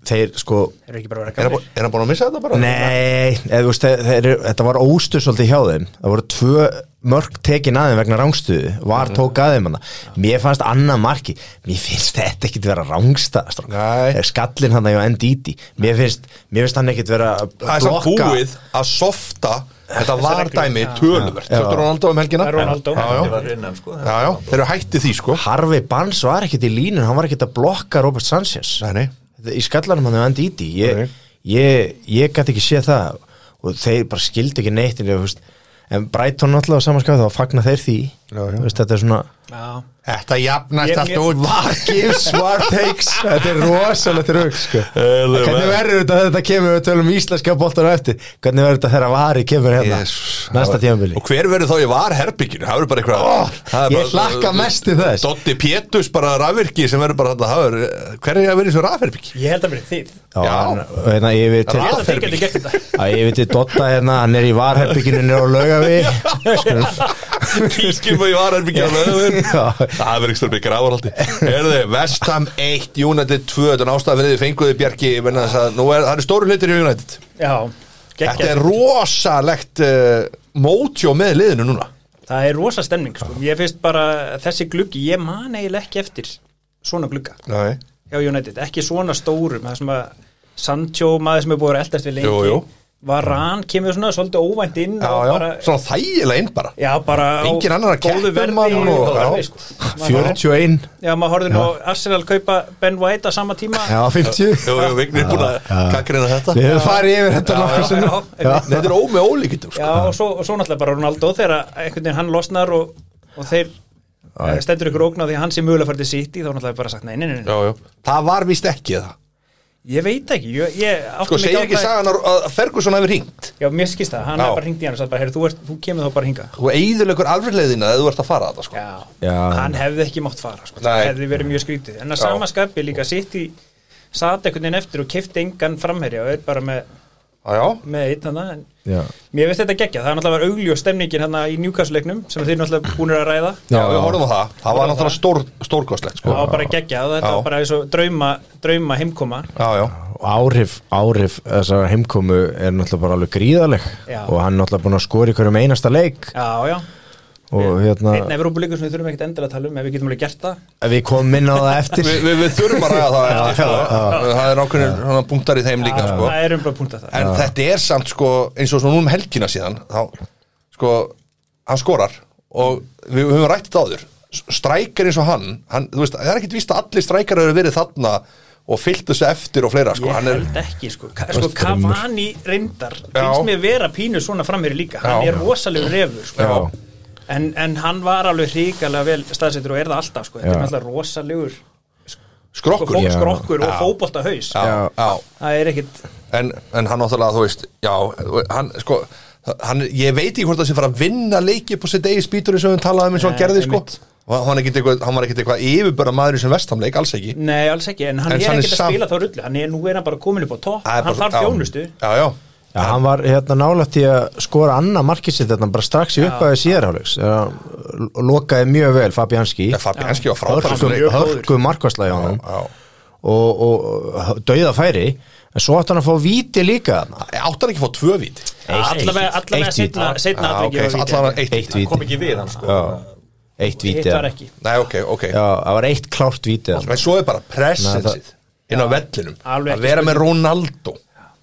þeir sko
Þeir eru ekki bara að vera
Er hann
gamlir
bú- er hann búin að missa þetta bara?
Nei, eða, þú veist, þeir, þeir, þetta var óstuð svolítið hjá þeim Það voru tvö mörg tekin aðeim vegna rángstuðu Var tók aðeim hana Mér fannst annað marki Mér finnst þetta ekkit vera rángsta strákar.
Nei.
Þegar Skallinn hann að ég á NDD Mér finnst, mér finnst hann ekkit vera að
það er samt
blokka.
búið að softa þetta var
reglur.
dæmi töluvert Þetta er Ronaldo um helgina
Það er Ronaldo.
já,
Þetta
já,
var innan sko
já, já, þeir eru hættið því sko
Harfi Barnes var ekkit í línun Hann var ekkit að blokka Robert Sanchez
Nei, nei.
Í skallanum hann á NDD Ég,
Nei.
ég, ég gæti ekki séð það Og þeir bara skildi ekki neitt En, þú veist, en Brighton alltaf samanskapið Þá fagna þeir því
Já, já.
Þú Veist, Þetta er svona
Já
Þetta jafnast
Ég-
allt
ég-
út
What gives, what takes Þetta er rosalegt rauk sko.
Hello,
Hvernig
man.
verður þetta þegar þetta kemur við tölum íslenska boltar á eftir Hvernig verður þetta þegar vari kemur hérna
Jesus.
Næsta tíðanbili
Og hver verður þá ég var herbygginu? Það verður bara eitthvað það er
Ég hlakka mest til þess
Dotti Pétus bara rafvirki sem verður bara þetta er, Hver er að vera í svo rafvirki?
Ég held að verið þið Ég
Já,
Já.
en- og hérna ég við til
held að þið
Raðherbergi.
getur gert þetta
að ég veit til Dotta hérna, hann er í varherbygginu nýra á laugavi
Kískjum og ég var herbygginu á löðum
Já.
Það verður ekki störbygg grafarhaldi Erðu, Vestham 1, United 2 Þetta er ástæða fyrir því fenguði Bjarki ég meina þess að Nú er, það eru stóru hlutir í United
Já
Þetta er
geggjað.
rosalegt uh, mótjó með liðinu núna
Það er rosa stemning sko. Ég finnst bara þessi gluggi Ég man eiginlega ekki eftir svona glugga
Nei.
hjá United, ekki svona stórum það sem að Sancho maður sem er búið að vera eldast við lengi
Jú, jú.
Varan kemur svona svolítið óvænt inn
Já,
og
já,
bara,
svona þægilega inn bara
já, bara á
Engin annar að keppa
góðu
um
verði
hann og-
og-
já.
sko. Maður horfði-
41
Já, maður horfði nú á Arsenal kaupa Ben White á sama tíma
Já, 50
Jú, jú, Vignir er búin að kakkarina þetta
Við höfum farið yfir þetta nokkuð
já,
sinnum.
já,
Nei, Þetta er ómið ólíkitum
já
sko.
og, svo, og svo náttúrulega bara Ronaldo þegar að einhvern veginn hann losnar og, og þeir eh, stendur ykkur ógn á því að hann sé mjögulega farið til City þá náttúrulega bara sagt nei, nei, nei, nei.
já, já. Það var vist ekki það
ég veit ekki, ég, ég átti
Sko,
mig
segir
á
ekki
það-
sagan að- að Ferguson hefur ringt
já, mér skist það, hann
Já.
hefði bara hringt í hann og sagði bara, heyrðu, þú, ert- þú kemur þá bara hingað
og eiðurleikur afröðleðina eða þú ert að fara þetta sko.
Já,
Já.
hann hefði ekki mátt fara sko.
Nei.
hefði verið mjög skrítið en að
Já.
sama skapi líka sitt í sat einhvern veginn eftir og kefti engan framherja og er bara með,
Já, já,
með einn hann en
já,
mér veist þetta geggja, það er náttúrulega var augljós stemningin hann í njúkastleiknum sem þeir náttúrulega búinir að ræða
já,
Já.
við horfum á það Það var náttúrulega stór, stórkostlegt sko.
það var bara geggja og þetta
Já.
var bara eins og drauma, drauma heimkoma
Já, já,
Og áhrif, áhrif þessar heimkomu er náttúrulega bara alveg gríðaleg
Já.
og hann er náttúrulega búin að skora í hverjum einasta leik
já, já,
og hérna,
einn Evrópuleikur sem við þurfum ekkert endilega að tala um ef við getum alveg gert það
við komum inn á það eftir
við, við, við þurfum að ræða það eftir sko. Það er nákvæmlega punktar í þeim líka sko.
það er umblá punkt að það
En þetta er samt sko eins og svona núna um helgina síðan þá, sko, hann skorar og við, við höfum rætt þetta áður strækar eins og hann, hann þú veist, það er ekkit víst að allir strækar eru verið þarna og fyllt þessu eftir og fleira sko,
ég
hann er,
held ekki sko, Ka sko
Östrumur.
Cavani reyndar finnst mér vera pínu svona framherri líka hann
Já.
er rosalegur refur sko.
Já.
en, en hann var alveg ríkalega vel staðsettur og er það alltaf sko.
Já.
þetta er náttúrulega rosalegur Sko,
skrokkur
Já.
fólkskrokkur og fótbolta haus
já, já.
það er ekkit
En, en hann náttúrulega, þú veist, já hann, sko, hann, ég veit ekki hvort það sé fara að vinna leiki på sitt eigi spýtur eins og við talaðum eins og hann
Nei,
gerði sko
einmitt.
og hann, er ekkit eitthvað, hann var ekkit eitthvað yfirbörða maður sem vestamleik, alls ekki
nei alls ekki en hann
En hann
er
er
ekkit að
samt-
spila þá rullu hann er nú er hann bara komin upp á topp
Það er bara-
hann þarf
já.
þjónustu
Já, já,
Já, hann var hérna nálægt í að skora annað markið sitt hérna bara strax í uppæðu síðarháleiks lokaði mjög vel Fabianski
Já, Fabianski var frábæra
hörkum, hörkum markværslega á hann
Já.
og, og dauða færi en svo átti hann að fá víti líka þarna.
Átt Eh, hann ekki að fá tvö víti?
allavega
eitt-
allavega
eitt víti.
setna setna
Ah, ok,
atvikið var
allan
víti.
eitt,
eitt víti,
kom ekki við hann sko
Já. eitt víti
hitt var
já,
ekki
Nei, ok, ok
það var eitt klárt víti þarna.
En svo er bara
Nei,
presensið inn á vellinum
Alveg
að
ekki
vera með Ronaldo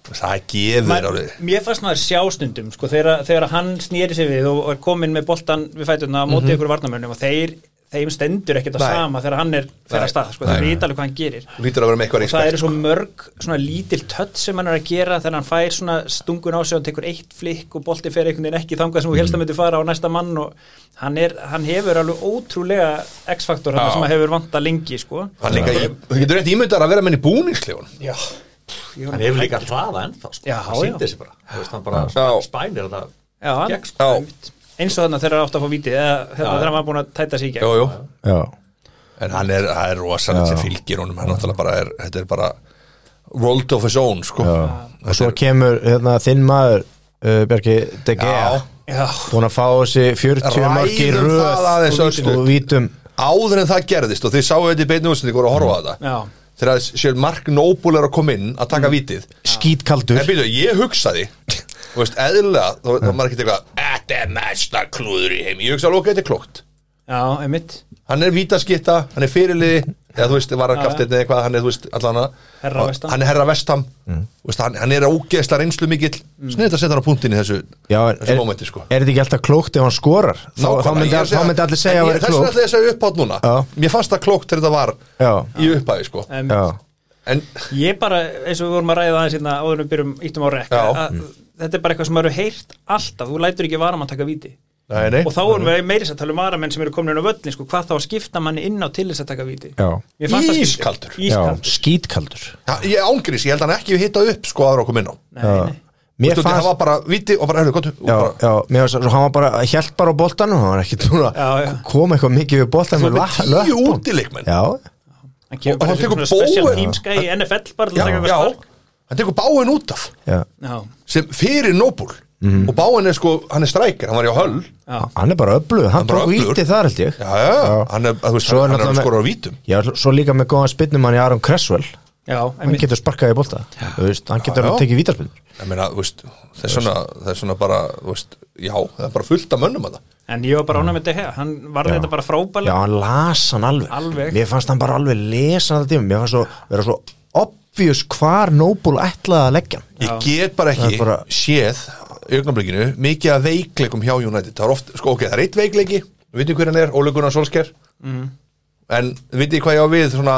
það gefur
Man,
þér alveg
mér fannst maður sjá stundum sko, þegar, þegar hann snýri sig við og er komin með boltan við fætuna á móti ykkur varnamönnum og þeir, þeim stendur ekkert
Mhm.
að
Nei.
sama þegar hann er fyrir að stað, sko, þeir
Nei.
vita alveg hvað hann gerir
Þú lítur að vera með eitthvað
það
reyngspekt
eru
sko.
svo mörg svona lítil tött sem hann er að gera þegar hann fær svona stungun á sig og hann tekur eitt flikk og bolti fer einhvern veginn ekki þangað sem þú
Mm.
helst að myndi fara á næsta mann og hann, er, hann hefur alveg ótrúlega x-faktor þarna
Já.
sem hann hefur vanta lengi sko.
Hann líka, í- þú getur rétt ímyndar að vera með henni búningslegun
Já, Ég-
hann hefur líka hraða ennþá sko.
Já,
hann
já.
sýndi sig bara Þú veist, hann bara
Já.
spænir þetta
Já, hann,
gegn sko.
Já,
eins og þannig að þeirra átt að fá vítið eða hérna,
Já.
þegar hann var búin að tæta sig í gegn
jú, jú
já,
En hann er, það er rosalegt sem fylgir honum hann náttúrulega bara er, þetta er bara rolled of his own, sko
já.
Þetta
og svo
er-
kemur hérna, þinn maður uh, Bjarki De Gea
Já.
Já,
búin að fá þessi 40
Ræðum
mörg í
það aðeins
röð og-
örstutt.
og vítum
Áður en það gerðist og þið sáu þetta í beinu útsendingu og voru að horfa á þetta
já,
þegar sér Mark Noble er að koma inn að taka vítið
skítkaldur
En býtu, ég hugsaði Þú veist, eðlilega, þá þá maður ekkert eitthvað Þetta er mesta klúður í heim Ég hugsaði alveg, ok, þetta er klokt
já, einmitt
Hann er vítaskitta, hann er fyrirliði eða þú veist, var hann kaftirni eða eitthvað, hann er, þú veist, allan að-
Herra Vestam.
Hann er herra vestam
Mm.
Þú veist, hann, hann er ógeðsla reynslu mikill mm. Snið þetta að setja hann á punktin í þessu,
Já, en
þessu
er,
mómenti, sko
er þetta ekki alltaf klókt ef hann skorar? Þá, þá, myndi,
Nákvæmlega, ég er að
þá
segja-
myndi allir segja
En
að
ég-
vera
Þess vegna
klókt
ætla ég að segja upphátt núna
Já.
Mér fannst það klókt þegar þetta var
Já,
í upphæði, sko
um,
já,
En,
Ég bara, eins og við vorum að ræða aðeins hérna áður en við byrjum íttum á rekk
Já.
að-
Mm.
Þetta er bara eitthvað sem maður hefur heyrt alltaf Þú lætur ekki varam að taka víti
nei, nei
Og þá erum við meiri að tala um varamenn sem eru komin inn á völlin sko, Hvað þá að skipta manni inn á til þess að taka víti
já,
Mér fannst það skrítið.
Ískaldur.
já
Ískaldur
skítkaldur
Ha, Ég ángriðs, ég held hann ekki hitta upp, sko, aðra okkur minna
Nei, nei.
Mér
Mér
fannst Það var
fannst
bara viti og bara, hefðu, gott og
Já,
bara,
já, mér fannst, svo hann var bara, hjælt bara á boltanum, hann var ekki túna
Já, já.
kom eitthvað mikið við boltanum
Svo með
la-
tíu
löppunum.
útileikmenn.
Já,
Hann kemur
Og- og
bara
hann
fyrir
tekur
svona special
bóin.
teamska í NFL bara til
já,
að taka
já,
eitthvað spark
hann tekur báin út af
já,
Já,
sem fyrir Nóbul
Mhm.
og báin er sko, hann er strækir, hann var í á höll
já,
hann er bara öflug, hann
er bara
tók
öflugur.
vítið þar held ég
já, já, hann er, að þú veist,
Svo er
hann, hann er
náttúrulega
að
með-
skora á vítum
Já, svo líka með góðan spinnum hann í Aron Cresswell Hann
já, einmitt
getur sparkað í bolta, þú veist, hann getur
Já, já.
tekið vítarspinnur
ég meina, þú veist, það er svona það er svona bara, þú veist, já, það er bara fullt af mönnum að það
En ég var bara ánægð með þetta hea Hann varði þetta bara frábælega
Já, hann las hann alveg.
Alveg.
Mér fannst hann bara alveg lesa hann alltaf tíma Mér fannst svo, vera svo obvious hvar Noble ætlaði að leggja hann
ég get bara
Það
ekki
er bara-
séð í augnablikinu, mikið af veikleikum hjá United, það er oft, sko, ok, það er eitt veikleiki við veitum hver hann er, Ole Gunnar Solskjær
Mhm.
en við veitum hvað ég á við svona,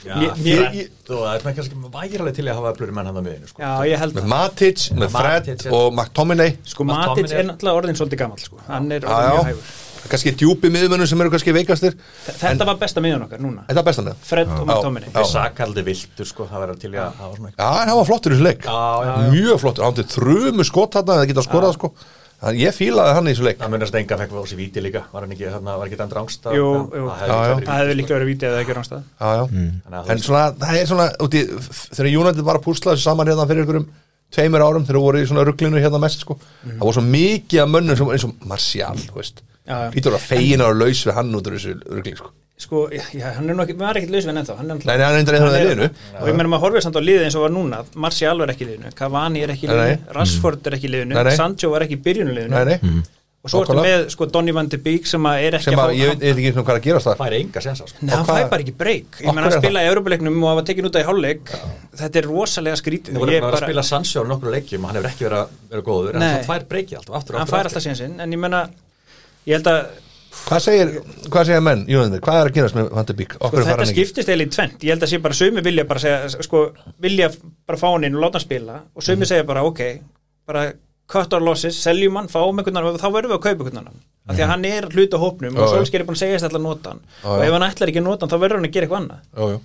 Já,
Mér-
fyrir-
ég- ég-
þú- það er svona kannski vægilega til í að hafa öflur menn hann á miðinu sko.
Já, ég held
með Matic, með Fred
Matic, já.
og McTominay
Sko
Að
Matic
Tommy
er
er-
náttúrulega orðin svolítið gammal sko. hann er
Já,
orðin
já.
mjög hægur
Það er kannski djúpi miðmönnum sem eru kannski veikastir
Þe- Þetta var besta miðan okkar núna
Þetta er besta með
Fred og McTominay
Já.
sakaldi viltur sko, það verður til í að hafa svona
Já, en hann var flottur í þessu leik
Já, já,
Mjög flottur, hann til þrjumu skot þarna eða geta skorað sko Hann- Ég fílaði hann í þessu leik
Það munast enga fekk við á sér víti líka Var hann ekki, þarna, var ekki þannig rángst
Jú, jú.
Já, já.
það hefði
sko.
líklega verið vítið ef það ekki rángstað
já, já. En svona, það er svona úti, þegar United var að púsla þessu saman hérna fyrir einhverjum tveimur árum þegar voru í svona rugglinu hérna mest sko það voru svo mikið af mönnum sem, eins og Martial, þú veist
Mhm. Já, já.
Lítur að fegin að vera laus við hann út úr þessu ruggli sko
sko, já, hann er nú ekki, maður er ekkert laus við hann ennþá hann er
Nei,
náttúrulega-
nei, hann er eitthvað það liðinu
og ég menna maður horfið samt á liðið eins og var núna Marcial var ekki í liðinu, Cavani er ekki í
Nei, nei.
liðinu Rashford er ekki í liðinu,
Nei, nei.
Sancho var ekki í byrjunuleginu
Nei, nei,
og svo ertu
nákvæmlega.
með sko Donny van de Beek sem að er ekki
sem að
að fá
ég veit, ég veit ekki svona hvað er að gerast það
Það er enga sens á sko.
Nei, hann
Og hvað-
fæ bara ekki breyk
Af
ég menna
hverju
að
er
spila í Európa-leiknum og hafa tekin út af í hálfleik þetta er rosalega skrítið
Það voru
Ég
bara að
bara-
spila Sancho á nokkru leikjum og hann hefur ekki verið að vera góður en hann
Nei.
fær breyki alltaf, aftur og
hann
aftur
fær
og
alltaf síðan sinn en ég menna, ég held að
Hvað segir, hvað segir menn, United, hvað er að gerast með Van de Beek? Okkur
sko,
fara
þetta
hann ekki
skiptist eiginlega í tvent ég held að sé bara sömu vilja bara segja sko, vilja bara fá hann inn og láta hann spila og sömu
Mhm.
segja bara ok bara cut our losses, seljum hann, fáum einhvern annan og þá verðum við að kaupa einhvern annan af því að hann er hluti á hópnum
Mhm.
og
Já, já.
Solskjaer er búin að segja þess að nota hann
Já,
og
já.
ef hann ætlar ekki að nota hann þá verður hann að gera eitthvað annað
Jú, jú.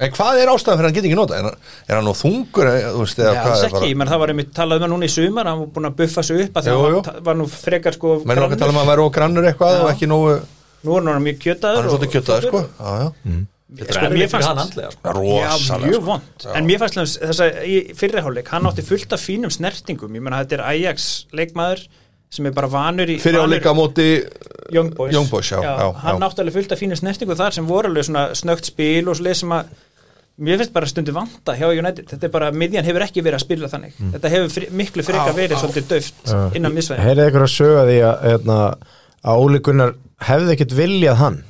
En hvað er ástæðan fyrir að hann geti ekki nota? Er, hann- er hann nú þungur? eh, Þú veist, eða
Já,
hvað
alls
er bara-
ekki, menn það var einmitt talað um hann núna í sumar hann var búin að buffa sig upp að
Jú,
það
jú.
var, var nú frekar sko
Menn er okkar að tala um að hann væri ógrannur eitthvað og ekki nógu,
nú er hann orðinn mjög kjötaður
hann er
og-
svolítið kjötaður sko Já, já,
aftur
Sko,
Það er
mér
mér fannst hann
fannst
andlega sko.
Já,
rosalega
mjög
sko.
vond, en mér fannst hans, þess að í fyrirháleik, hann átti fullt af fínum snertingum, ég menna þetta er Ajax leikmaður sem er bara vanur í
Fyrir
vanur-
áleika á móti
Young Boys,
Young Boys, já, já,
hann
já.
átti alveg fullt af fínum snertingum þar sem voru alveg svona snögt spil og svo sem að mér finnst bara stundu vanda hjá United, þetta er bara, miðjan hefur ekki verið að spila þannig, þetta hefur fri, miklu frekar verið svolítið döft innan misvæðin
heyrið ykkur að söga því að, hérna, að Óli Gunnar hefði ekkit viljað hann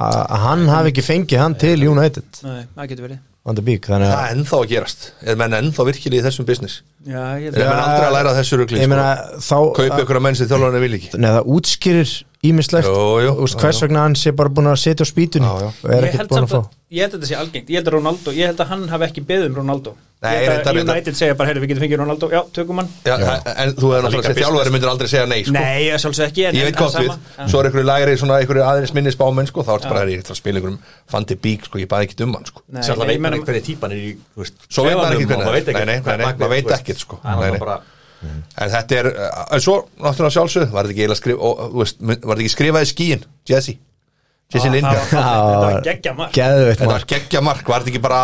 að að hann hafi ekki fengið hann til United
Nei, það getur verið
Van de Beek, þannig
Það
að
er ennþá að gerast Er menn ennþá virkilega í þessum business
Já, ég
Er
held
menn
að
aldrei að læra af þessu rugli
ég meina þá
Kaupi sko. ykkur að menn sem þjálfarni vil ekki
neða það útskýrir ímislegt
Jú, jú,
úst,
já,
hvers
já.
vegna hann sé bara búin að setja á spýtunni
Já, já.
og er
ég
ekkert
held,
búin
samt
að fá
að, ég held að þetta sé algengt, ég held að Ronaldo ég held að hann hafi ekki beðið um Ronaldo
Nei,
ég held að
reyndar-
United segja bara, heyrðu, við getum fengið Ronaldo já, tökum hann
Já, En þú hefur náttúrulega
líka
sett þjálfari myndir aldrei segja nei sko.
Nei, ég sjálfsög ekki en
Ég veit gott við, svo er ykkur lægri svona ykkur aðeins minni spámenn sko, þá ertu bara að ég ætla að spila ykkur Fandi Bík, sko, ég baði ekki um hann sko.
Nei,
Sér alltaf
nei, ég
veit maður
meina-
ekki hvernig típan er í þú veist,
Svo veit maður ekki
klefanum og
hvernig-
maður veit
nei, nei,
ekkert hvað
nei,
bakvið,
maður veit
þú veist.
ekkert, sko.
Hann
Nei,
er
nei.
náttúrulega bara-
En þetta er, eh, en svo náttúrulega sjálfsög, var þetta ekki eiginlega skrif, og, þú veist, mun- var þetta ekki skrifaði skíin, Jesse Jesse Lindberg
Ah, Það var- þetta var
Já,
geggja mark
geðveitt
Þetta var
mark
geggja mark, var þetta ekki bara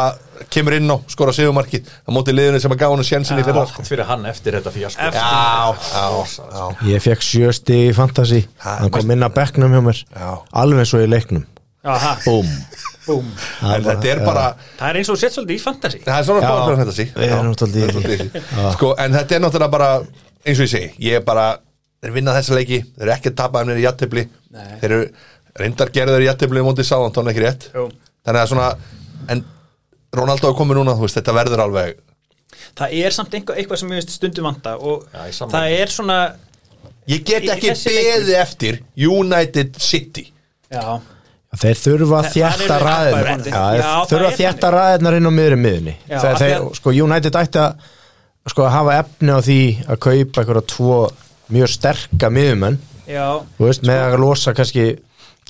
kemur inn á, skora sigumarkið, það móti liðinu sem að gá hann sjensinni fyrir það
sko.
Gott fyrir hann eftir þetta sko. fíasko
Eftir-
Já, já, já
ég fekk sjösti í Fantasí
Ha,
hann kom inn að bekknum hjá mér
Já.
alveg eins og í leiknum
Aha,
Búm.
búm.
En þetta er bara,
Það er eins og sett svolítið í fantasy
það er svona
Já.
báður þetta sí
Við erum svolítið í því.
Sko, en þetta er náttúrulega bara eins og ég segi, ég er bara þeir vinna þessa leiki, þeir eru ekki að tapa þeir eru jattefli,
Nei.
þeir eru reyndar gerðu þeir jattefli mótið sáðan, tónu ekki rétt
Jú.
þannig að svona, en Ronaldo er komið núna, þú veist, þetta verður alveg
Það er samt einhver, eitthvað sem ég veist stundum vanda og
Já, ég sammála.
það er svona
ég get
Í- í
ekki
þessi leikur.
beðið eftir United City
Já,
þeir þurfa að
Það-
þjætta
það er
raðirnar
jafnvægi.
Já, þeir
Já, það
þurfa
er
að þjætta raðirnar inn á miðri miðunni
Já,
þeir,
af því
þeir,
að-
sko United ætti að sko að hafa efni á því að kaupa einhverja tvo mjög sterka miðumenn
já
þú veist, með að losa kannski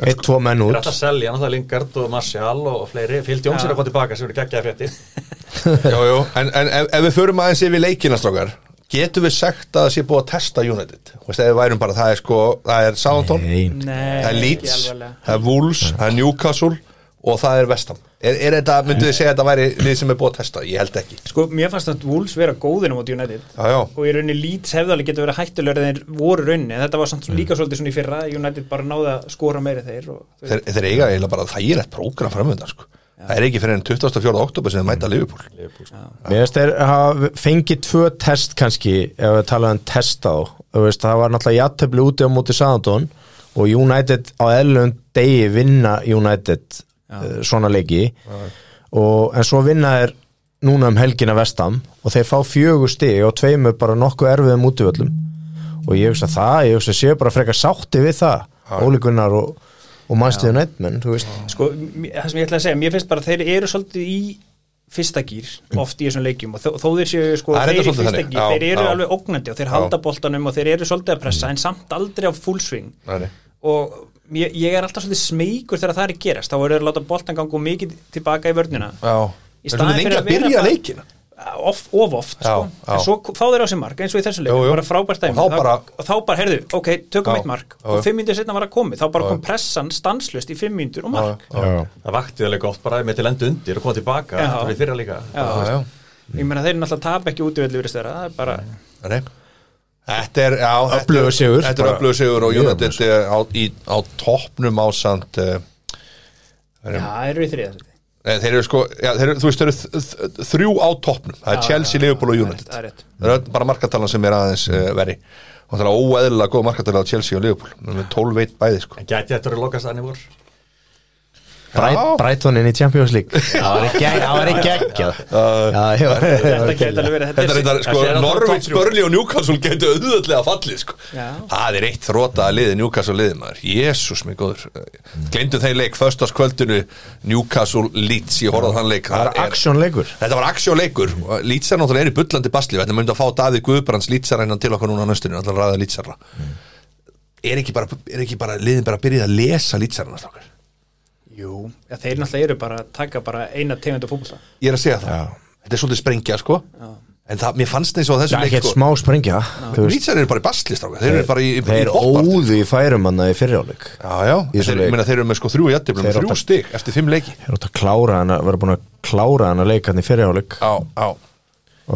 eitt, tvo menn
Þeir
út
ætla að selja, náttúrulega Lingard og Martial og og fleiri Fyllt Jóns er að koma tilbaka sem eru geggjaði fréttir
Jú, jú, en, en ef, ef við förum aðeins yfir leikina strákar Getum við sagt að það sé búið að testa United Þú veist, ef við værum bara, það er sko Það er Southampton,
Nei.
Nei,
það er
ekki
Leeds
alvarlega.
Það er Wolves, það er Newcastle Og það er Vestham Er, er þetta, myndu þið segja að þetta væri lið sem er búið að testa? Ég held ekki
Sko, mér fannst að Wolves vera góðinu mot United
Já, já,
og í rauninni Leeds hefðalega getur verið hættulegur en þeir voru rauninni, en þetta var
Mm.
samt líka svolítið svona í fyrra, United bara náði að skora meiri þeir og þú
þeir, þeir eiga eiginlega bara þægilegt prógram framöndan sko. Það er ekki fyrir enn 24. oktober sem þeir mæta Liverpool
Mér veist þeir hafa fengið tvö test kannski ef við talaðum um test á Þú veist, það var náttúrulega játtöfli úti á móti Saðantón og United á eðlum degi vinna United uh, svona leiki og, en svo vinna þeir núna um helgina vestam og þeir fá fjögur stig og tveimur bara nokkuð erfiðum útivöllum og ég hugsa það, ég hugsa séu bara frekar sátti við það, Óli Gunnar og, og mannstuðið nættmenn, þú veist
sko, m- það sem ég ætla að segja, mér finnst bara að þeir eru svolítið í fyrsta gýr oft í þessum leikjum og þó, þó þeir séu sko,
Mm. Það er þetta
þeir í
svolítið
fyrsta
þannig.
gýr,
Já,
þeir eru
já. Mm.
alveg ógnandi og þeir halda boltanum og þeir eru svolítið að pressa en samt aldrei á full swing
Nei, nei.
og ég, ég er alltaf svolítið smeykur þegar það er að gerast, þá eru þeir að láta boltan gangu mikið tilbaka í vörnina
Já, það er
Í
svona
staðinn
lengi að
fyrir að vera
byrja
bara-
leikina
of, of oft
Já,
sko.
já.
en svo fá þeir á sig mark eins og í þessu leik,
Jú, jú.
bara frábært dæmi
Og þá bara-
og þá bara, heyrðu, ok, tökum
Já,
eitt mark
já, já.
og fimm mínútur setna var að komið, þá bara
Já,
kom
já.
pressan stanslust í fimm mínútur og mark
já, já.
það vakti alveg gott bara með til endu undir og koma tilbaka,
Já.
það var í fyrra líka
Já,
Já, já.
ég meina þeir náttúrulega tapa ekki út í vellu verið það er bara,
Nei. Þetta er, já, þetta er-
Öflugur sigur.
Þetta er
Bara-
öflugur sigur og
Mjög
United er á, í, á toppnum ásand uh,
já, eru við þriða
þeir eru sko, já, þeir, eru- þú veist, þeir eru þ- þ- þrjú á toppnum, það er
Já,
Chelsea,
já,
Liverpool og
já,
United
það er rétt. Mm.
Það er bara markatalan sem er aðeins uh, veri og það er óeðlilega góð markatalan á Chelsea og Liverpool með 12 veit bæði sko
en gæti þetta verið lokast aðni vor
Já.
Brighton inn í Champions League Það var ekki- það var ekki ekki Já, ég var- ég var
þetta
ekki
gæti alveg verið,
Þetta er
þetta
þetta, sko,
Þetta er á
Norvíts,
topp þrjú.
Börli og Newcastle getur auðvöldlega fallið, sko
Já.
Það er eitt þrótaða liði, Newcastle liði maður Jésús mig góður Gleymdu þeir leik, föstaskvöldinu Newcastle Leeds, ég horfði á þann leik
Það var
Það er-
aksjónleikur
Þetta var aksjóleikur, Leeds er náttúrulega er í bullandi basli Þetta myndi að fá Davíð Guðbrands Leedsar hennan til okkar núna á nöstinu, alltaf ræða Leedsarra Er ekki bara, er ekki bara liðin bara að byrja að lesa Leedsarna strákar?
jú, já, þeir náttúrulega eru bara að taka bara eina tegund af fókbalta
Ég er að segja það, þetta er svolítið sprengja sko En það, mér fannst eins og þessu
Það er ekki smá springja Þú veist,
Leedsar sko. eru bara í basli strákar, þeir eru bara í, í, í
þeir
botnbaráttu.
óðu í færum hann í fyrrjáleik
Já, já,
Í
þeir,
þessum
ég
leik.
meina þeir eru með sko þrjú jættiflum,
Þeir
þrjú
átta-
stig eftir fimm leiki
Þeir átt að klára hann að vera búin að klára hann að leika hann í fyrrjáleik
Já, já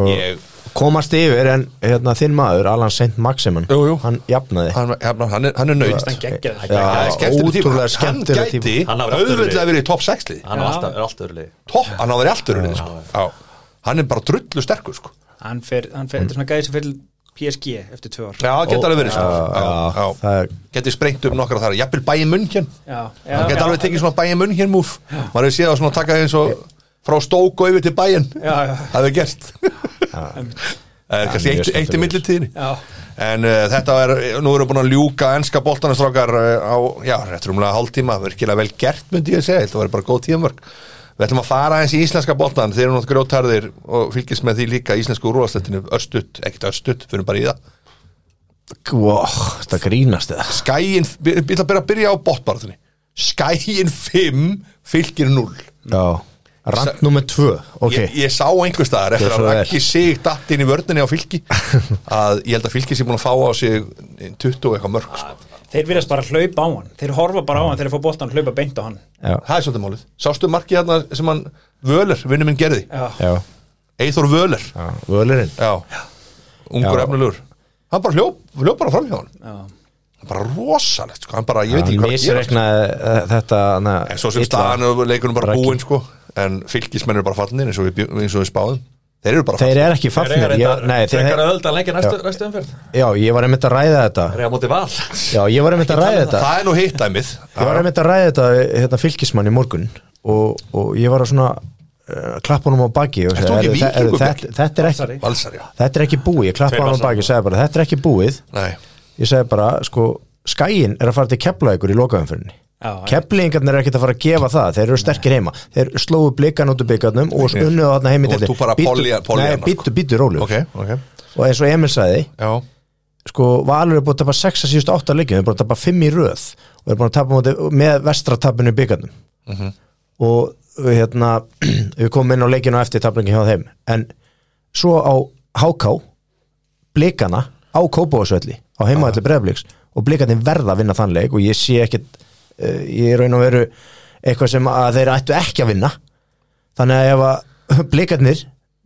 Ég,
Komast yfir en hérna, þinn maður Alan Saint Maximin
Jú, jú.
Hann jafnaði
hann, hann, hann, er, hann er nöyt
hann geggjaði
Já, ótrúlega
Hann
skemmtilega
gæti
tíma
Hann hafi átt öðru
auðvitað
liði.
verið í topp 6 lið
hann er
Já.
alltaf, er alltaf öðru liði
Topp, hann hafi verið allt öðru lið sko. Já. Hann er bara drullu sterkur sko.
hann fer, hann fer, þetta er svona gæði sem fyrir PSG eftir tvö ár
Já, geta alveg verið sko.
Já,
já, já.
það er-
Geti sprengt um nokkra þar, jafnvel bæja munn hér
Já, já,
Hann geti
já,
alveg tekið svona bæja munn hér múf Maður hefur séð að svona taka eins og frá stók og yfir til bæjan
Já, já.
Það hefur gerst Það er kannski
mjög
eitt, eitt í
skemmtilegur.
millitíðinni
já,
En uh, þetta er, nú erum við búin að ljúka ennska boltanastrákar uh, á, já, rétt rúmlega hálftíma, virkilega vel gert myndi ég að segja, þetta var bara góð tíðamörk Við ætlum að fara eins í íslenska boltan, þeir eru náttúrulega grjótarðir og fylgist með því líka í íslensku úrvarslettinu, örstutt, ekkert örstutt, fyrir bara í það
Wow, það grínast það
Skæin, ég ætla að byrja að byrja á botbaratunni Skæin 5, fylgir 0
Já, rand nummer tvö Ok,
Mm. ég, ég sá einhver staðar eftir að
Gjörðu svo vel.
Raggi sig datt inn í vörninni á fylgi að ég held að fylgi sem búin að fá á sig 20 og eitthvað mörg sko.
þeir virðast bara hlaupa á hann þeir horfa bara á hann þegar þeir fá boltan hlaupa beint á hann
já,
Það er svolítið málið. Sástu markið hérna sem hann Völer, vinnu minn gerði.
já,
já,
Eithor Völer.
já Völurinn
Já. Ungur
Já.
efnilegur. Hann bara hljóp, hljóp bara fram hjá hann.
já.
Hann bara rosalegt, sko. Hann bara, ég veit ekki
Hann
hvað að gera. sko.
misreiknaði uh, þetta na,
En svo sem staðan og leikunum bara
Raggi.
búinn, sko. En fylgismenn eru bara fallinir eins og við, bjó- eins og við spáðum. Þeir eru bara
Þeir eru ekki
þeir
fafnir
eru
ég, nei,
þetta
þeir,
frekar öðulda lengi næstu, næstu umferð
Já, ég var einmitt að ræða þetta
þeir eru á móti val
Já, ég var einmitt að ræða
um
þetta
Það er nú hitt dæmið.
Ég var einmitt að ræða þetta við, hérna, fylgismann í morgun og, og ég var að svona uh, klappa honum á baki og
Ert
segja,
þú ekki
"Eru þe- eru
víkingur,
þetta, þetta er ekki
Valsari.
Valsar, já.
Þetta er ekki búið, ég klappa
Tveir
honum á
Valsarar.
baki og segja bara, þetta er ekki búið
Nei.
Ég segja bara, sko, skæin er að fara til kepla ykkur í lokaumfyrinni
já.
Keflingarnir er ekkert að fara að gefa það Þeir eru sterkir heima Þeir slóu blikan út úr byggarnum og unnuðu þarna heim í
Nú ert þú bara að polja- polja
Nei,
hana,
býttu, býttu rólu
Ok, ok.
Og eins og Emil sagði
Já.
sko, Valur er búin að tapa 6 að síðustu 8 leikjum Þeir eru búin að tapa 5 í röð og þeir eru búin að tapa móti, með vestratapinu í byggarnum og hérna við komum inn á leikinu á eftir tapningi hjá þeim en svo á Háká blikana á Kópavásvelli á heimaðalli breyðabliks og blikarnir verða að vinna þann leik og ég sé ekkit uh, ég raun og veru eitthvað sem að þeir ættu ekki að vinna þannig að ef að blikarnir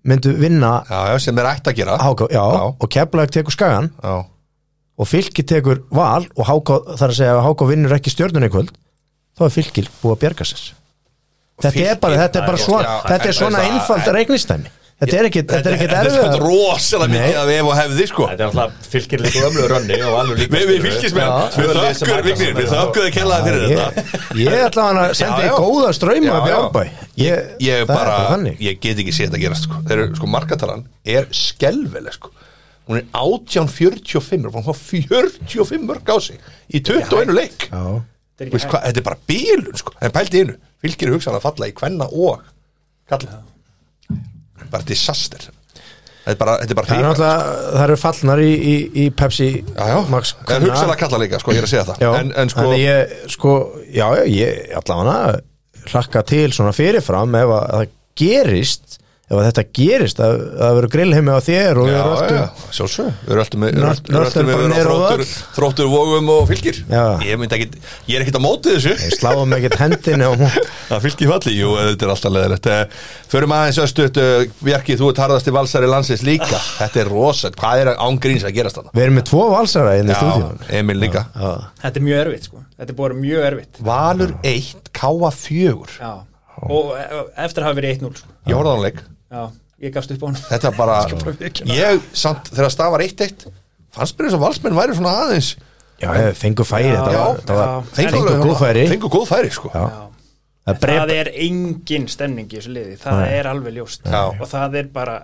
myndu vinna
Já, já, sem er ætt að gera.
Háká, já,
Já.
og Keflag tekur skagan
Já.
og Fylki tekur val og Háká, þar að segja að Háká vinnur ekki stjörnunni í kvöld þá er Fylkir búið að bjarga sér þetta er
Fylkir-
bara, þetta er bara
Já,
svona
já,
þetta
en-
er svona
en-
einfald reiknistæmi þetta er ekki, þetta er ekki
Þetta er
erfið
rosalega
Nei.
mikið af ef og hefði, sko.
þetta er alltaf fylgir líka ömlu rönni og alveg líka
Við, við fylgismenn,
Já.
við þökkum Vignir, við þökkum þið kellaði fyrir þetta
ég, ég ætla hann að senda
Já, já.
í góða ströyma
Já,
upp í
já.
árbæ ég,
Ég
það er bara
bara,
þannig
ég get ekki séð þetta gerast sko. Þeir eru, sko, markatalan er skelveleg sko. Hún er 1845 og hún var 45 mörg á sig í 21 leik
já,
Þú
Þetta er ekki
veist
hægt.
hvað, Þetta er bara bílun sko. En pældi einu, fylgir hugsaðan að falla í kvenna og kalla Bara disaster Þetta er bara, þetta er bara
það er
hrikalegt.
náttúrulega, það eru fallnar í, í, í Pepsi
Já, já,
Max
en
kvenna.
hugsaðan að kalla líka, sko, ég er að segja það
já,
en, en sko,
ég, sko, já, já, ég ætla hann að hlakka til svona fyrirfram ef að það gerist ef að þetta gerist að það verður grillheimi á þér og um-
Já,
við erum
já,
öllum
sjálfsög Við erum alltaf með, við erum alltaf- við erum
Nörd-
alltaf með
nördar
að vera á
bara niður á
þróttur, þróttur vogum og fylgir
Já.
Ég myndi ekki, ég er ekkit á mótið þessu
sláum ekkert hendinni á mót
Það fylgir falli, jú, þetta er alltaf leðilegt Förum aðeins östuðt, Bjarki, þú ert harðasti valsari landsins líka Þetta er rosat, hvað er ángríns að gerast þarna?
Við erum með tvo valsara inn í stúdíun
Emil líka
Þetta er mjög erfitt sko, þetta er bara mjög erfitt
Valur 1, Káa 4
Já, og e- eftir að hafa verið 1-0 sko.
Ég horfði á hann leik
Já, ég gafst upp á hann
Þetta er bara,
viðurkenna.
ég, samt, þegar staðan var 1-1 Fannst mér þess að valsmenn væri svona aðeins
Já, ef við fengu færi þetta
Já,
var, þetta var,
já.
fengu
fengu góð færi
Fengu góð færi, sko
Já.
Já.
Það
Það
breypa-
er engin stemning í þessu liði, það
Nei.
er alveg ljóst
Já.
og það er bara